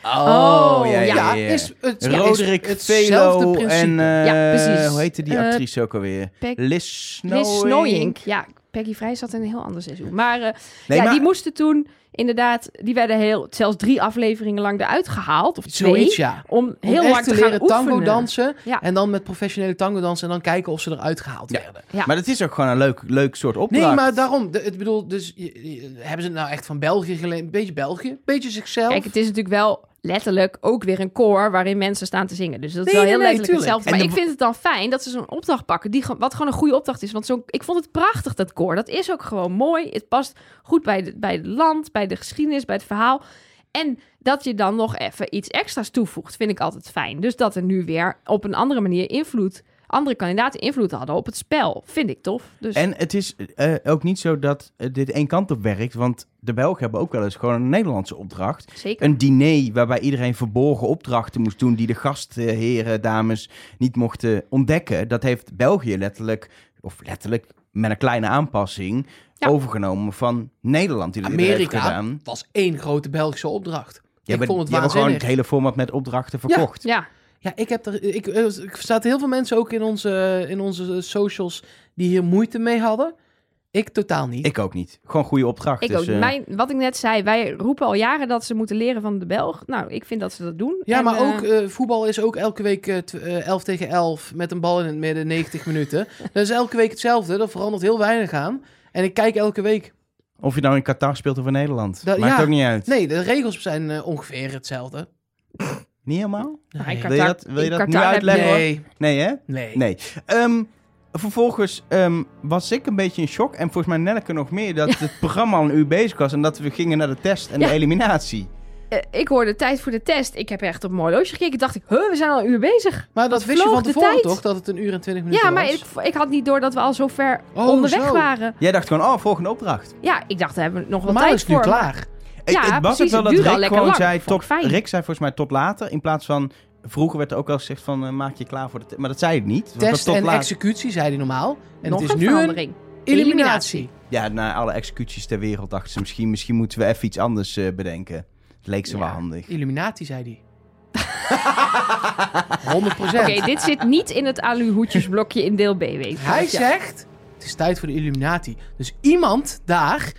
Oh, ja, ja,
ja.
ja.
is het ja,
Roderick
is hetzelfde
Velo
principe.
en... eh,
Ja, precies.
Hoe heette die
Eh,
actrice ook alweer?
Peg-
Liz Snowing.
Liz Snowink. Ja, Peggy Vrij zat in een heel ander seizoen. Maar, eh,
Nee,
ja,
maar-
die moesten toen inderdaad... Die werden heel, zelfs drie afleveringen lang eruit gehaald. Of twee.
Zoiets, ja.
Om
Om
heel
echt
lang te,
te
gaan
leren tango
oefenen.
dansen.
Ja.
En dan met professionele tango dansen. En dan kijken of ze eruit gehaald
Ja.
werden.
Ja.
Maar dat is ook gewoon een leuk, leuk soort opdracht.
Nee, maar daarom. De, het bedoel, dus, je- je- hebben ze het nou echt van België geleend? Een beetje België, een beetje zichzelf.
Kijk, het is natuurlijk wel letterlijk ook weer een koor... waarin mensen staan te zingen. Dus dat is
Nee,
wel heel
nee, nee,
letterlijk
tuurlijk.
hetzelfde.
En
Maar ik
de-
vind het dan fijn dat ze zo'n opdracht pakken... Die, gewoon- wat gewoon een goede opdracht is. Want zo, ik vond het prachtig, dat koor. Dat is ook gewoon mooi. Het past goed bij, de, bij het land, bij de geschiedenis, bij het verhaal... En dat je dan nog even iets extra's toevoegt, vind ik altijd fijn. Dus dat er nu weer op een andere manier invloed, andere kandidaten invloed hadden op het spel, vind ik tof. Dus
En het is eh, ook niet zo dat eh, dit één kant op werkt. Want de Belgen hebben ook wel eens gewoon een Nederlandse opdracht.
zeker.
Een diner waarbij iedereen verborgen opdrachten moest doen... die de gastheren, dames niet mochten ontdekken. Dat heeft België letterlijk, of letterlijk met een kleine aanpassing...
Ja.
overgenomen van Nederland. Die dat eerder heeft
Amerika
gedaan.
was één grote Belgische opdracht.
Ja,
ik
maar
vond het
die hebben gewoon het
waanzinnig.
hele format met opdrachten
Ja.
verkocht.
Ja,
Ja, ik heb er. Ik, eh, ik staat heel veel mensen ook in onze, in onze socials die hier moeite mee hadden. Ik totaal niet.
Ik ook niet. Gewoon goede opdrachten.
ik ook.
Dus, eh,
Mijn, wat ik net zei, wij roepen al jaren dat ze moeten leren van de Belg. Nou, ik vind dat ze dat doen.
ja,
En,
maar
eh,
ook eh, voetbal is ook elke week eh, tw- eh, 11 tegen 11 met een bal in het midden,
*laughs*
90 minuten. Dat is elke week hetzelfde. Daar verandert heel weinig aan. En ik kijk elke week.
Of je nou in Qatar speelt of in Nederland.
Dat-
Maakt
ja.
ook niet uit.
Nee, de regels zijn eh, ongeveer hetzelfde.
Niet helemaal?
nou,
Nee.
in
Wil je
Qatar-
dat- wil je
in
dat nu
Qatar heb
uitleggen,
je-
hoor?
Nee,
Nee, hè?
nee.
Nee. Ehm, vervolgens ehm, was ik een beetje in shock. En volgens mij Nelleke nog meer. Dat het programma al een uur bezig was. En dat we gingen naar de test en
Ja.
de eliminatie.
eh, ik hoorde tijd voor de test. Ik heb echt op mijn horloge gekeken. Ik dacht ik, huh, we zijn al een uur bezig.
Maar dat
Wat
wist je
vloog
van
de
tevoren
tijd?
toch? Dat het een uur en twintig minuten
Ja, maar
was?
ik, ik had niet door dat we al zo ver
Oh,
onderweg
zo.
waren.
Jij dacht gewoon, oh, volgende opdracht.
Ja, ik dacht, daar hebben we nog wel
Normaal is
tijd
het nu
voor. maar-
klaar.
Ik-
Ja,
het was ook
precies, het
wel
duurde
dat
al
Rick
lekker
gewoon
lang.
zei...
Vond
Tot,
ik fijn.
Rick zei volgens mij tot later. In plaats van... Vroeger werd er ook wel gezegd van, eh, maak je klaar voor de test. Maar dat zei het niet. Het was
Test
tot
en
laat.
executie, zei hij normaal. En
nog
het is
een
nu een
verandering.
eliminatie.
Ja, na alle executies ter wereld dachten ze... Misschien, misschien moeten we even iets anders eh, bedenken. Het leek ze wel
Ja.
handig.
Illuminatie,
*laughs*
zei hij. 100
Oké, dit zit niet in het aluhoedjesblokje in deel B, weet ik.
Hij
Ja.
zegt, het is tijd voor de Illuminati. Dus iemand daar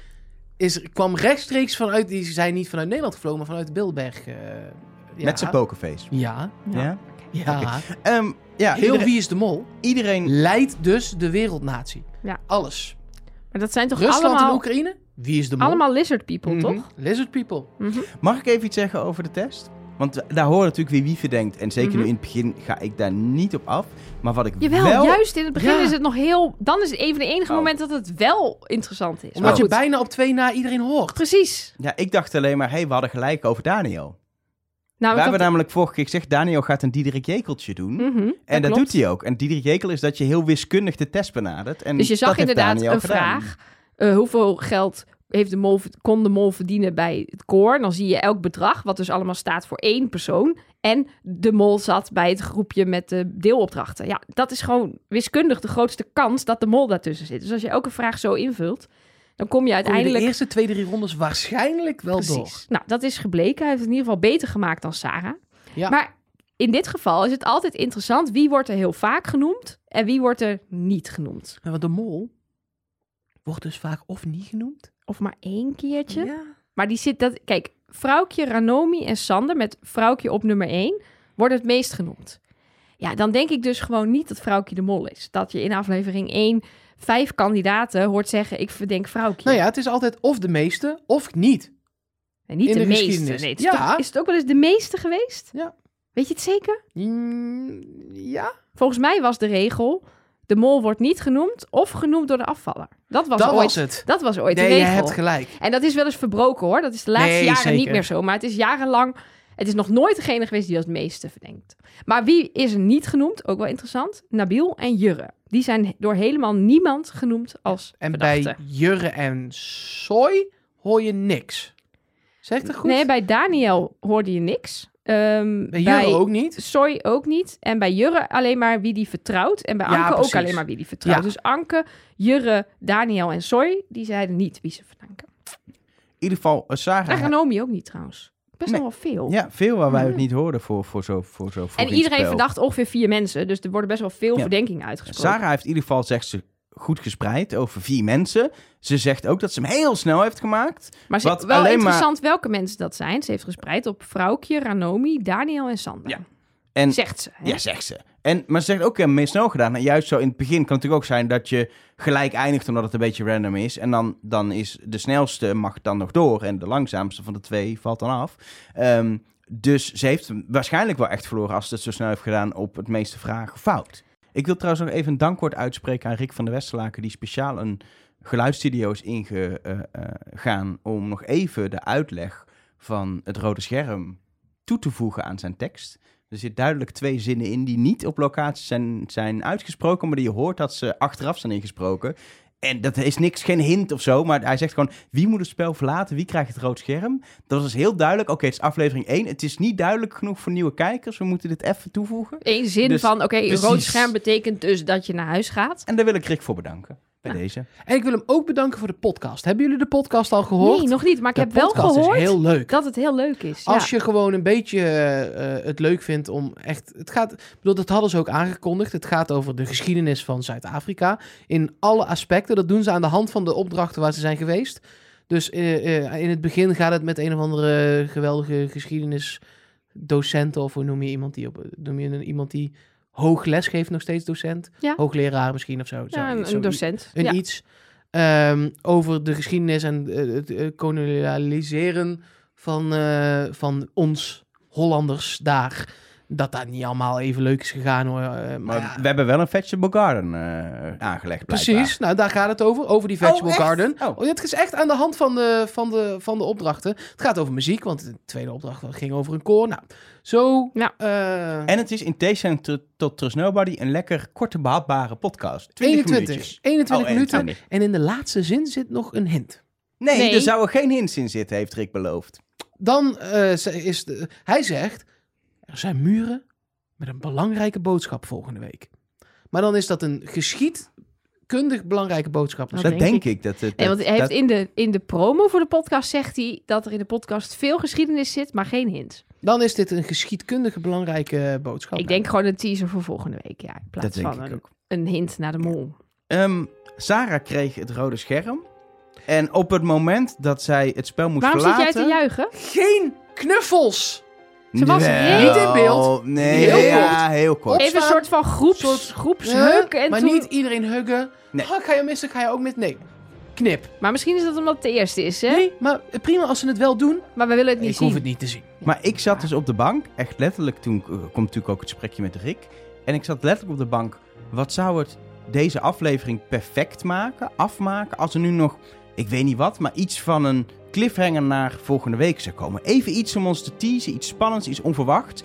is, kwam rechtstreeks vanuit... Die zijn niet vanuit Nederland gevlogen, maar vanuit Bilberg. eh, ja.
Met zijn pokerface.
Ja.
Ja.
Ja,
Ja.
Ehm, ja
Heel
iedereen,
Wie is de Mol
iedereen...
leidt dus de wereldnatie.
Ja.
Alles.
Maar dat zijn toch
Rusland en
allemaal,
Oekraïne, Wie is de Mol?
allemaal lizard people,
Mhm.
toch?
Lizard people.
Mag ik even iets zeggen over de test? Want daar horen natuurlijk weer wie verdenkt. En zeker nu in het begin ga ik daar niet op af. Maar wat ik
Mhm. Jawel,
wel...
juist in het begin
Ja.
is het nog heel... Dan is het even de enige
Oh.
moment dat het wel interessant is.
Omdat
Maar
je
goed,
bijna op twee na iedereen hoort.
precies.
Ja, ik dacht alleen maar, hé, hey, we hadden gelijk over Daniel.
Nou,
we
ik
hebben
had-
namelijk vorige keer gezegd, Daniel gaat een Diederik Jekeltje doen.
Mhm,
en dat
klopt.
doet hij ook. En Diederik Jekel is dat je heel wiskundig de test benadert. En
Dus je
dat
zag
heeft
inderdaad
Daniel
een
gedaan.
vraag. eh, hoeveel geld heeft de mol, kon de mol verdienen bij het koor? Dan zie je elk bedrag, wat dus allemaal staat voor één persoon. En de mol zat bij het groepje met de deelopdrachten. Ja, dat is gewoon wiskundig de grootste kans dat de mol daartussen zit. Dus als je elke vraag zo invult, dan kom je
Kom je
uiteindelijk...
De eerste twee, drie rondes waarschijnlijk wel door.
Precies. Nou, dat is gebleken. Hij heeft het in ieder geval beter gemaakt dan Sarah.
Ja.
Maar in dit geval is het altijd interessant wie wordt er heel vaak genoemd en wie wordt er niet genoemd.
Ja, Want de mol wordt dus vaak of niet genoemd.
Of maar één keertje.
Ja.
Maar die zit dat. Kijk, Vrouwkje, Ranomi en Sander met Vrouwkje op nummer 1 worden het meest genoemd. Ja, dan denk ik dus gewoon niet dat Vrouwkje de mol is. Dat je in aflevering 1 vijf kandidaten hoort zeggen: Ik verdenk Vrouwkje.
Nou ja, het is altijd of de meeste of niet.
en niet
in
de,
de
meeste.
geschiedenis.
Nee, het is,
Ja.
toch, is het ook wel eens de meeste geweest?
Ja.
Weet je het zeker?
Mm, ja,
Volgens mij was de regel: De mol wordt niet genoemd of genoemd door de afvaller. Dat was
dat
ooit.
was het.
Dat was ooit
nee,
de
je
regel.
hebt gelijk.
En dat is wel eens verbroken hoor. Dat is de laatste
Nee,
jaren niet
zeker.
meer zo. Maar het is jarenlang. Het is nog nooit degene geweest die als het meeste verdenkt. Maar wie is er niet genoemd? Ook wel interessant. Nabil en Jurre. Die zijn door helemaal niemand genoemd als
En
verdachte.
bij Jurre en Soy hoor je niks. Zeg ik dat goed?
Nee, bij Daniel hoorde je niks. Ehm,
Bij Jurre ook niet.
Soy ook niet. En bij Jurre alleen maar wie die vertrouwt. En bij
Ja,
Anke
precies.
ook alleen maar wie die vertrouwt.
Ja.
Dus Anke, Jurre, Daniel en Soy, die zeiden niet wie ze verdenken.
In ieder geval, eh,
En
Sarah...
Ranomi ook niet trouwens. Best
Nee.
nog wel veel.
Ja, veel waar wij
Ja.
het niet hoorden voor, voor zo voor zo vroeg
Mhm. En
in het
iedereen
spel.
verdacht ongeveer vier mensen. Dus er worden best wel veel
Ja.
verdenkingen uitgesproken.
Sarah heeft in ieder geval, zegt ze, goed gespreid over vier mensen. Ze zegt ook dat ze hem heel snel heeft gemaakt.
maar ze,
wat
wel
alleen
interessant welke mensen dat zijn. Ze heeft gespreid op Vrouwkje, Ranomi, Daniel en Sander.
Ja. En,
Zegt ze. hè?
Ja, zegt ze. En, maar ze zegt ook, ik heb hem meer snel gedaan. En juist zo in het begin kan het natuurlijk ook zijn dat je gelijk eindigt omdat het een beetje random is. En dan, dan is de snelste mag dan nog door en de langzaamste van de twee valt dan af. Ehm, dus ze heeft hem waarschijnlijk wel echt verloren als ze het zo snel heeft gedaan op het meeste vragen fout. Ik wil trouwens nog even een dankwoord uitspreken aan Rick van der Westerlaken, die speciaal een geluidsstudio is ingegaan om nog even de uitleg van het rode scherm toe te voegen aan zijn tekst. Er zit duidelijk twee zinnen in die niet op locatie zijn, zijn uitgesproken, maar die je hoort dat ze achteraf zijn ingesproken. En dat is niks, geen hint of zo, maar hij zegt gewoon: wie moet het spel verlaten, wie krijgt het rood scherm? Dat was heel duidelijk. Oké, het is aflevering 1. Het is niet duidelijk genoeg voor nieuwe kijkers. We moeten dit even toevoegen.
Eén zin
Dus-
van, oké, een rood
precies.
scherm betekent dus dat je naar huis gaat.
En daar wil ik Rick voor bedanken. Bij
Nou,
deze.
En ik wil hem ook bedanken voor de podcast. Hebben jullie de podcast al gehoord?
Nee, nog niet. Maar ik
De
heb wel
podcast
gehoord
is heel leuk.
dat het heel leuk is.
Als
ja.
je gewoon een beetje eh, eh, het leuk vindt om echt. Het gaat. Ik bedoel, dat hadden ze ook aangekondigd. Het gaat over de geschiedenis van Zuid-Afrika. In alle aspecten. Dat doen ze aan de hand van de opdrachten waar ze zijn geweest. Dus eh, eh, in het begin gaat het met een of andere geweldige geschiedenisdocent. Of hoe noem je iemand die op. Noem je een- iemand die hoog les geeft, nog steeds docent?
Ja.
Hoogleraar misschien of zo.
Ja,
Zo-
een, een
zo-
docent.
een
ja.
iets ehm, over de geschiedenis en eh, het eh, kolonialiseren van, eh, van ons Hollanders daar. Dat dat niet allemaal even leuk is gegaan hoor. eh, maar
Maar
ja,
we hebben wel een Vegetable Garden eh, aangelegd. blijkbaar.
precies, nou daar gaat het over, over die Vegetable
echt?
Garden.
Oh.
Oh, het is echt aan de hand van de, van, de, van de opdrachten. Het gaat over muziek, want de tweede opdracht ging over een koor. Nou, zo...
Nou.
eh,
En het is in tegenstelling to- tot Trust Nobody een lekker korte behapbare podcast. 20
21,
minuutjes.
21
Oh,
minuten.
21.
En in de laatste zin zit nog een hint.
Nee,
Nee.
er zouden geen hints in zitten, heeft Rick beloofd.
Dan eh, ze- is de, hij zegt, er zijn muren met een belangrijke boodschap volgende week. Maar dan is dat een geschiedkundig belangrijke boodschap.
Dat
Dus Dat,
denk
denk, ik. dat, het-
Nee, want hij heeft
dat-
in, de, in de promo voor de podcast zegt hij dat er in de podcast veel geschiedenis zit, maar geen hint.
Dan is dit een geschiedkundige belangrijke boodschap.
Ik denk gewoon een teaser voor volgende week. Ja, in plaats
dat denk
van
ik
een,
ook.
een hint naar de mol.
Ehm, Sarah kreeg het rode scherm. En op het moment dat zij het spel moest
Waarom zit
verlaten...
jij te juichen?
Geen knuffels!
Ze was
Wel,
niet
in beeld.
Nee,
Heel
ja, heel kort.
Even een
Opstaan.
soort van groeps,
Soort-
groepsheuk.
Huh?
en
maar
toen...
niet iedereen huggen.
Nee.
Oh, ik ga je missen, ik ga je ook met... Nee. knip.
Maar misschien is dat omdat het de eerste is, hè?
Nee, maar prima als ze het wel doen.
Maar we willen het niet
ik
zien.
hoef het niet te zien.
Maar ik zat dus op de bank, echt letterlijk, toen eh, komt natuurlijk ook het gesprekje met Rick. En ik zat letterlijk op de bank, wat zou het deze aflevering perfect maken, afmaken, als er nu nog, ik weet niet wat, maar iets van een cliffhanger naar volgende week zou komen. Even iets om ons te teasen, iets spannends, iets onverwachts.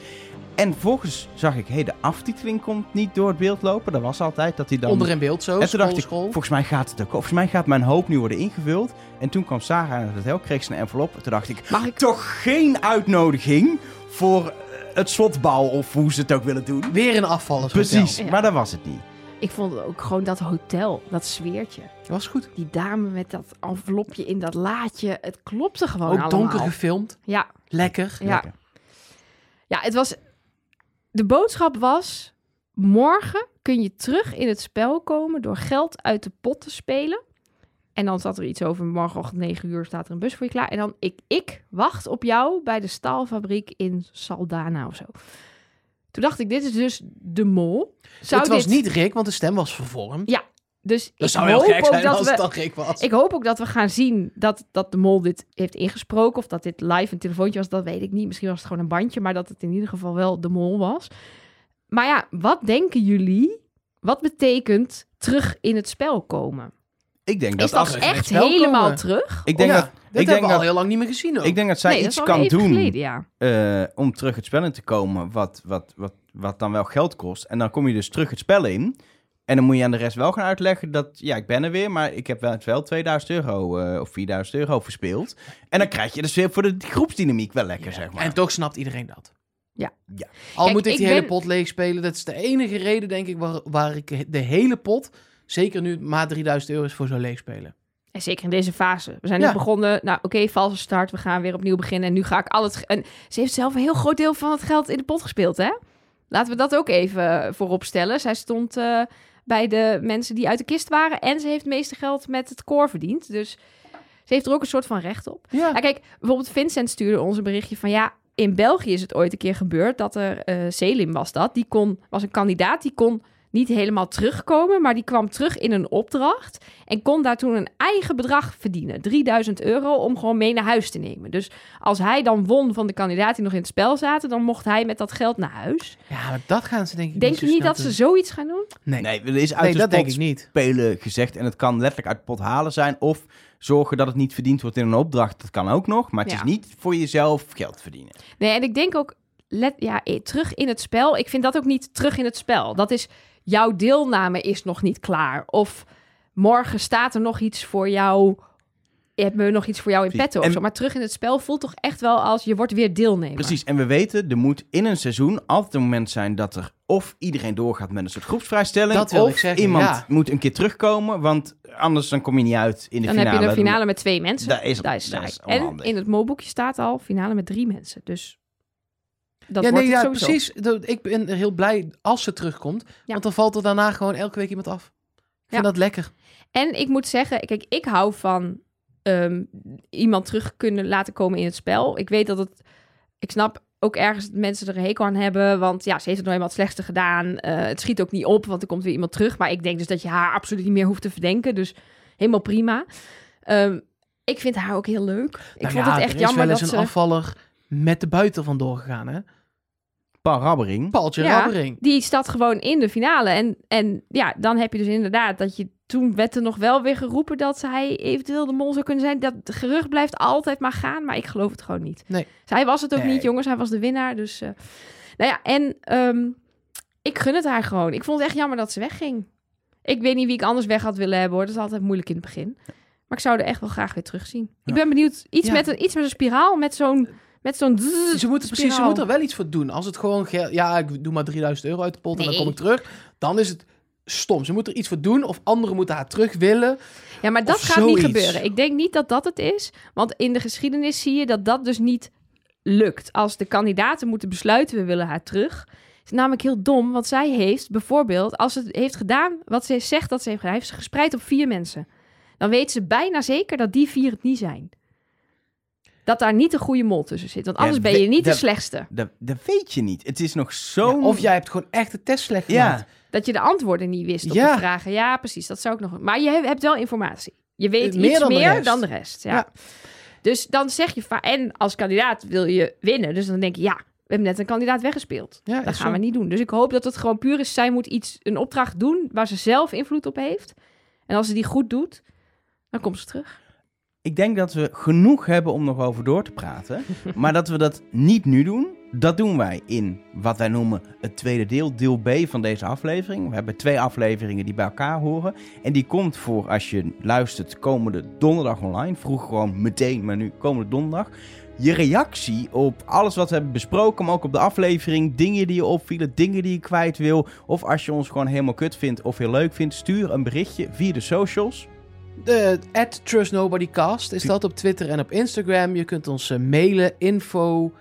En vervolgens zag ik, hé, de aftiteling komt niet door het beeld lopen. Dat was altijd dat hij dan...
Onder in beeld zo.
en toen dacht ik,
school, school.
volgens mij gaat het ook. Volgens mij gaat mijn hoop nu worden ingevuld. En toen kwam Sarah aan het hotel, kreeg ze een envelop. Toen dacht ik,
Mag ik...
toch geen uitnodiging voor eh, het slotbouw of hoe ze het ook willen doen.
Weer een afvallen.
Precies,
Ja.
maar dat was het niet.
Ik vond het ook gewoon dat hotel, dat sfeertje.
Was goed.
Die dame met dat envelopje in dat laadje. Het klopte gewoon
Ook
allemaal.
donker gefilmd.
Ja,
Lekker.
ja.
Lekker.
Ja, het was... De boodschap was... Morgen kun je terug in het spel komen door geld uit de pot te spelen. En dan zat er iets over morgenochtend 9 uur staat er een bus voor je klaar. En dan ik, ik wacht op jou bij de staalfabriek in Saldana of zo. Toen dacht ik, dit is dus de mol. Zou
het was
dit-
niet Rick, want de stem was vervormd.
Dus
Dat
ik
zou
hoop
heel gek
ook
zijn
dat
als
we...
het dan Rick was.
Ik hoop ook dat we gaan zien dat, dat de mol dit heeft ingesproken. Of dat dit live een telefoontje was, dat weet ik niet. Misschien was het gewoon een bandje, maar dat het in ieder geval wel de mol was. Maar ja, wat denken jullie? Wat betekent terug in het spel komen?
Ik denk
Is
dat,
dat
als,
terug in het
echt
spel komen?
helemaal terug?
ik denk
Ja,
dat,
dit
ik
hebben
denk
we al
dat,
heel lang niet meer gezien ook.
ik denk dat zij
Oh nee, dat
iets
is al
kan
even
doen
geleden, ja.
eh, om terug het spel in te komen, wat, wat, wat, wat dan wel geld kost. En dan kom je dus terug het spel in. En dan moet je aan de rest wel gaan uitleggen dat, ja, ik ben er weer, maar ik heb wel, het wel 2000 euro eh, of 4000 euro verspeeld. En dan krijg je dus weer voor de groepsdynamiek wel lekker, zeg maar.
En toch snapt iedereen dat.
Ja.
Ja.
Al
Kijk,
moet ik
ik
die
ben-
hele pot leeg spelen. Dat is de enige reden, denk ik, waar, waar ik de hele pot, zeker nu maar 3000 euro is voor zou leeg spelen.
En zeker in deze fase. We zijn
Ja.
nu begonnen, nou oké, valse start. We gaan weer opnieuw beginnen en nu ga ik al het... ge- En ze heeft zelf een heel groot deel van het geld in de pot gespeeld, hè? Laten we dat ook even voorop stellen. Zij stond eh, bij de mensen die uit de kist waren... en ze heeft het meeste geld met het koor verdiend. Dus ze heeft er ook een soort van recht op.
Ja.
Nou, kijk, bijvoorbeeld Vincent stuurde ons een berichtje van ja, in België is het ooit een keer gebeurd dat er eh, Selim was dat. Die kon, was een kandidaat die kon niet helemaal terugkomen, maar die kwam terug in een opdracht en kon daar toen een eigen bedrag verdienen, 3000 euro, om gewoon mee naar huis te nemen. Dus als hij dan won van de kandidaat die nog in het spel zaten, dan mocht hij met dat geld naar huis.
Ja, maar dat gaan ze denk ik
Denk
niet zo
je niet
snel
dat
doen.
ze zoiets gaan doen?
Nee, nee,
Nee, er is uit de
dat denk
spot
ik niet.
spelen gezegd. En het kan letterlijk uit de pot halen zijn. Of zorgen dat het niet verdiend wordt in een opdracht. Dat kan ook nog. Maar het
Ja.
is niet voor jezelf geld verdienen.
Nee, en ik denk ook let, ja, eh, terug in het spel. Ik vind dat ook niet terug in het spel. Dat is jouw deelname is nog niet klaar. Of morgen staat er nog iets voor jou. Hebben we nog iets voor jou in
Precies.
petto? Of
En-
zo. Maar terug in het spel voelt toch echt wel als je wordt weer deelnemer.
Precies. En we weten, er moet in een seizoen altijd een moment zijn dat er of iedereen doorgaat met een soort groepsvrijstelling.
Dat wil
of
ik zeggen,
iemand
ja.
moet een keer terugkomen. Want anders dan kom je niet uit in de
Dan
finale.
heb je de finale met twee mensen.
Daar is-
Daar
dat is
saai. En
onhandig.
in het MO-boekje staat al finale met drie mensen. Dus dat
ja,
wordt
nee,
het
ja,
sowieso.
precies. Dat- Ik ben heel blij als ze terugkomt. Want dan valt er daarna gewoon elke week iemand af. Ik vind
Ja.
dat lekker.
En ik moet zeggen, kijk, ik hou van ehm, iemand terug kunnen laten komen in het spel. Ik weet dat het. Ik snap ook ergens dat mensen er een hekel aan hebben. Want ja, ze heeft het nog helemaal het slechtste gedaan. Eh, het schiet ook niet op, want er komt weer iemand terug. Maar ik denk dus dat je haar absoluut niet meer hoeft te verdenken. Dus helemaal prima. Ehm, ik vind haar ook heel leuk. Ik
Nou
vond
ja,
het
er
echt
is
jammer
wel
dat
eens
ze...
een afvaller met de buiten vandoor gegaan, hè?
Paul Rabbering.
Paltje
Ja.
Rabbering.
die staat gewoon in de finale. En, en ja, dan heb je dus inderdaad dat je... Toen werd er nog wel weer geroepen dat hij eventueel de mol zou kunnen zijn. Dat gerucht blijft altijd maar gaan, maar ik geloof het gewoon niet.
Nee.
Zij was het ook
Nee.
niet, jongens. Hij was de winnaar, dus... eh, nou ja, en ehm, ik gun het haar gewoon. Ik vond het echt jammer dat ze wegging. Ik weet niet wie ik anders weg had willen hebben, hoor. Dat is altijd moeilijk in het begin. Maar ik zou er echt wel graag weer terugzien. Ik
Ja.
ben benieuwd. Iets,
Ja.
met een, iets met een spiraal, met zo'n... Met zo'n...
Ze moeten precies, ze
spiraal.
moeten er wel iets voor doen. Als het gewoon geld, ja, ik doe maar 3000 euro uit de pot en dan
Nee.
kom ik terug, dan is het stom. Ze moeten er iets voor doen of anderen moeten haar terug willen.
Ja, maar dat
Of
gaat
zoiets.
niet gebeuren. Ik denk niet dat dat het is. Want in de geschiedenis zie je dat dat dus niet lukt. Als de kandidaten moeten besluiten, we willen haar terug. Is het namelijk heel dom, want zij heeft bijvoorbeeld, als ze het heeft gedaan wat ze zegt dat ze heeft gedaan, heeft ze gespreid op vier mensen. Dan weet ze bijna zeker dat die vier het niet zijn. Dat daar niet een goede mol tussen zit. Want
Ja,
anders ben
we-
je niet de
dat-
slechtste.
Dat, dat weet je niet. Het is nog
Ja,
zo'n...
of jij hebt gewoon echt de test slecht
Ja.
gemaakt.
Dat je de antwoorden niet wist op
Ja.
de vragen. Ja, precies. Dat zou ik nog. Maar je hebt wel informatie. Je weet
Eh, Meer
iets
dan de
meer
rest.
dan de rest. Ja.
Ja.
Dus dan zeg je va- en als kandidaat wil je winnen. Dus dan denk je, ja, we hebben net een kandidaat weggespeeld.
Ja,
dat
is
gaan
zo.
we niet doen. Dus ik hoop dat het gewoon puur is, zij moet iets, een opdracht doen waar ze zelf invloed op heeft. En als ze die goed doet, dan komt ze terug.
Ik denk dat we genoeg hebben om nog over door te praten. maar dat we dat niet nu doen, dat doen wij in wat wij noemen het tweede deel, deel B van deze aflevering. We hebben twee afleveringen die bij elkaar horen. En die komt voor, als je luistert, komende donderdag online. Vroeg gewoon meteen, maar nu komende donderdag. Je reactie op alles wat we hebben besproken, maar ook op de aflevering. Dingen die je opvielen, dingen die je kwijt wil. Of als je ons gewoon helemaal kut vindt of heel leuk vindt, stuur een berichtje via de socials.
De at TrustNobodyCast is dat op Twitter en op Instagram. Je kunt ons eh, mailen info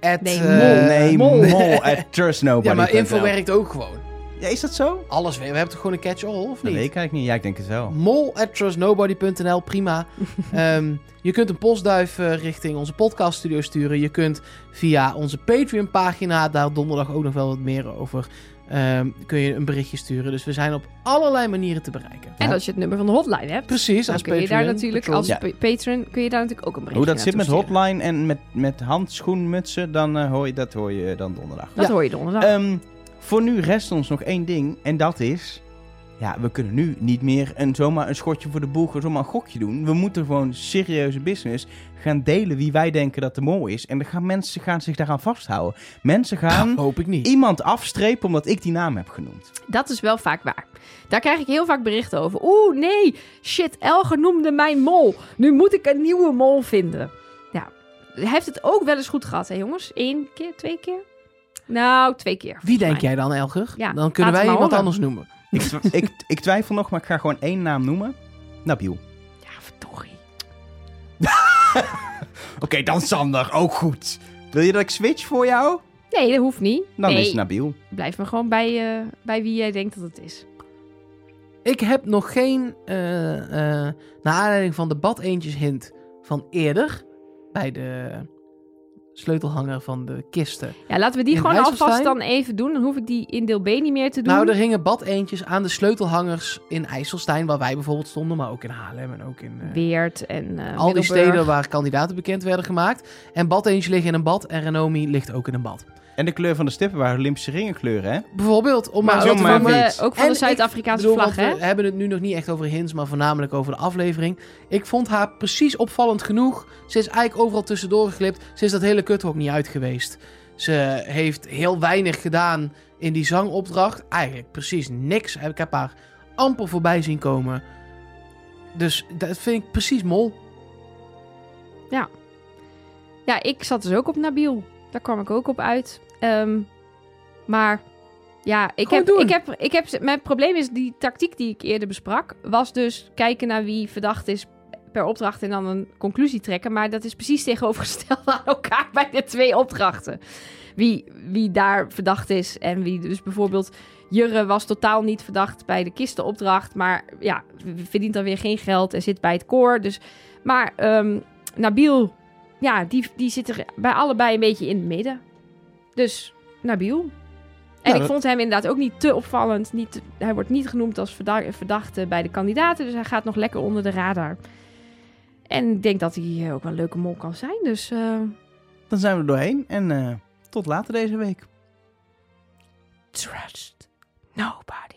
at,
Nee,
eh,
mol.
nee,
mol.
mol, at *laughs* trustnobody.
Ja, maar info werkt ook gewoon.
Ja, is dat zo?
Alles weer. We hebben toch gewoon een catch-all, of
Dat
niet?
weet ik eigenlijk niet. Ja, ik denk het wel.
Oh. Mol at trustnobody.nl,
*laughs*
prima. Ehm, je kunt een postduif eh, richting onze podcaststudio sturen. Je kunt via onze Patreon-pagina, daar donderdag ook nog wel wat meer over, ehm, kun je een berichtje sturen. Dus we zijn op allerlei manieren te bereiken.
En als je het nummer van de hotline hebt,
Precies,
dan
als
kun je daar
Patreon,
natuurlijk
patron.
als
Ja.
pa- patron kun je daar natuurlijk ook een berichtje
Hoe dat zit met
naartoe sturen.
hotline en met, met handschoenmutsen, dan, eh, hoor je, dat hoor je dan donderdag.
Dat
Ja.
hoor je donderdag.
Ehm, voor nu rest ons nog één ding. En dat is... Ja, we kunnen nu niet meer een, zomaar een schotje voor de boeg, zomaar een gokje doen. We moeten gewoon serieuze business gaan delen wie wij denken dat de mol is. En dan gaan mensen gaan zich daaraan vasthouden. Mensen *laughs* gaan
Hoop ik niet.
iemand afstrepen omdat ik die naam heb genoemd.
Dat is wel vaak waar. Daar krijg ik heel vaak berichten over. Oeh, nee, shit, Elger noemde mijn mol. Nu moet ik een nieuwe mol vinden. Ja, hij heeft het ook wel eens goed gehad, hè jongens? Eén keer, twee keer? Nou, twee keer.
Wie
volgens
denk
mij.
jij dan, Elger?
Ja,
dan kunnen
laat
wij
het maar
iemand
horen.
anders noemen.
Ik, tw- ik, ik twijfel nog, maar ik ga gewoon één naam noemen. Nabil.
Ja, verdorie.
Oké, dan Sander, ook goed. Wil je dat ik switch voor jou?
Nee, dat hoeft niet.
Dan
nee,
is nou- Nabil.
blijf maar gewoon bij, eh, bij wie jij denkt dat het is.
Ik heb nog geen, eh, eh, naar aanleiding van de bad eentjes hint van eerder, bij de sleutelhanger van de kisten.
Ja, laten we die
In
gewoon alvast
IJsselstein?
dan even doen. Dan hoef ik die in deel B niet meer te doen.
Nou, er hingen bad eentjes aan de sleutelhangers in IJsselstein, waar wij bijvoorbeeld stonden, maar ook in Haarlem en ook in eh,
Weert en eh
al die
Middelburg.
steden waar kandidaten bekend werden gemaakt. En bad eentjes liggen in een bad en Renomi ligt ook in een bad.
En de kleur van de stippen waren Olympische ringenkleuren, hè?
Bijvoorbeeld, om maar,
Maar
zo
zo
ook
te
maar
van
noemen.
de,
fiets.
ook van
En
de
ik
Zuid-Afrikaanse
bedoel,
vlag,
want eh,
hè?
We hebben het nu nog niet echt over hints, maar voornamelijk over de aflevering. Ik vond haar precies opvallend genoeg. Ze is eigenlijk overal tussendoor geglipt. Ze is dat hele kuthok niet uit geweest. Ze heeft heel weinig gedaan in die zangopdracht. Eigenlijk precies niks. Ik heb haar amper voorbij zien komen. Dus dat vind ik precies mol.
Ja, ik zat dus ook op Nabil. Daar kwam ik ook op uit. Ehm, maar ja, ik
Gewoon
heb,
doen.
ik, heb, ik heb... Mijn probleem is, die tactiek die ik eerder besprak... was dus kijken naar wie verdacht is per opdracht... en dan een conclusie trekken. Maar dat is precies tegenovergesteld aan elkaar... bij de twee opdrachten. Wie, wie daar verdacht is en wie dus bijvoorbeeld... Jurre was totaal niet verdacht bij de kistenopdracht... maar ja, verdient dan weer geen geld en zit bij het koor. Dus, maar ehm, Nabil ja, die, die zit er bij allebei een beetje in het midden. Dus Nabil. En
Ja,
ik
dat-
vond hem inderdaad ook niet te opvallend. Niet te- hij wordt niet genoemd als verda- verdachte bij de kandidaten. Dus hij gaat nog lekker onder de radar. En ik denk dat hij eh, ook wel een leuke mol kan zijn. Dus eh,
Dan zijn we er doorheen en eh, tot later deze week.
trust nobody.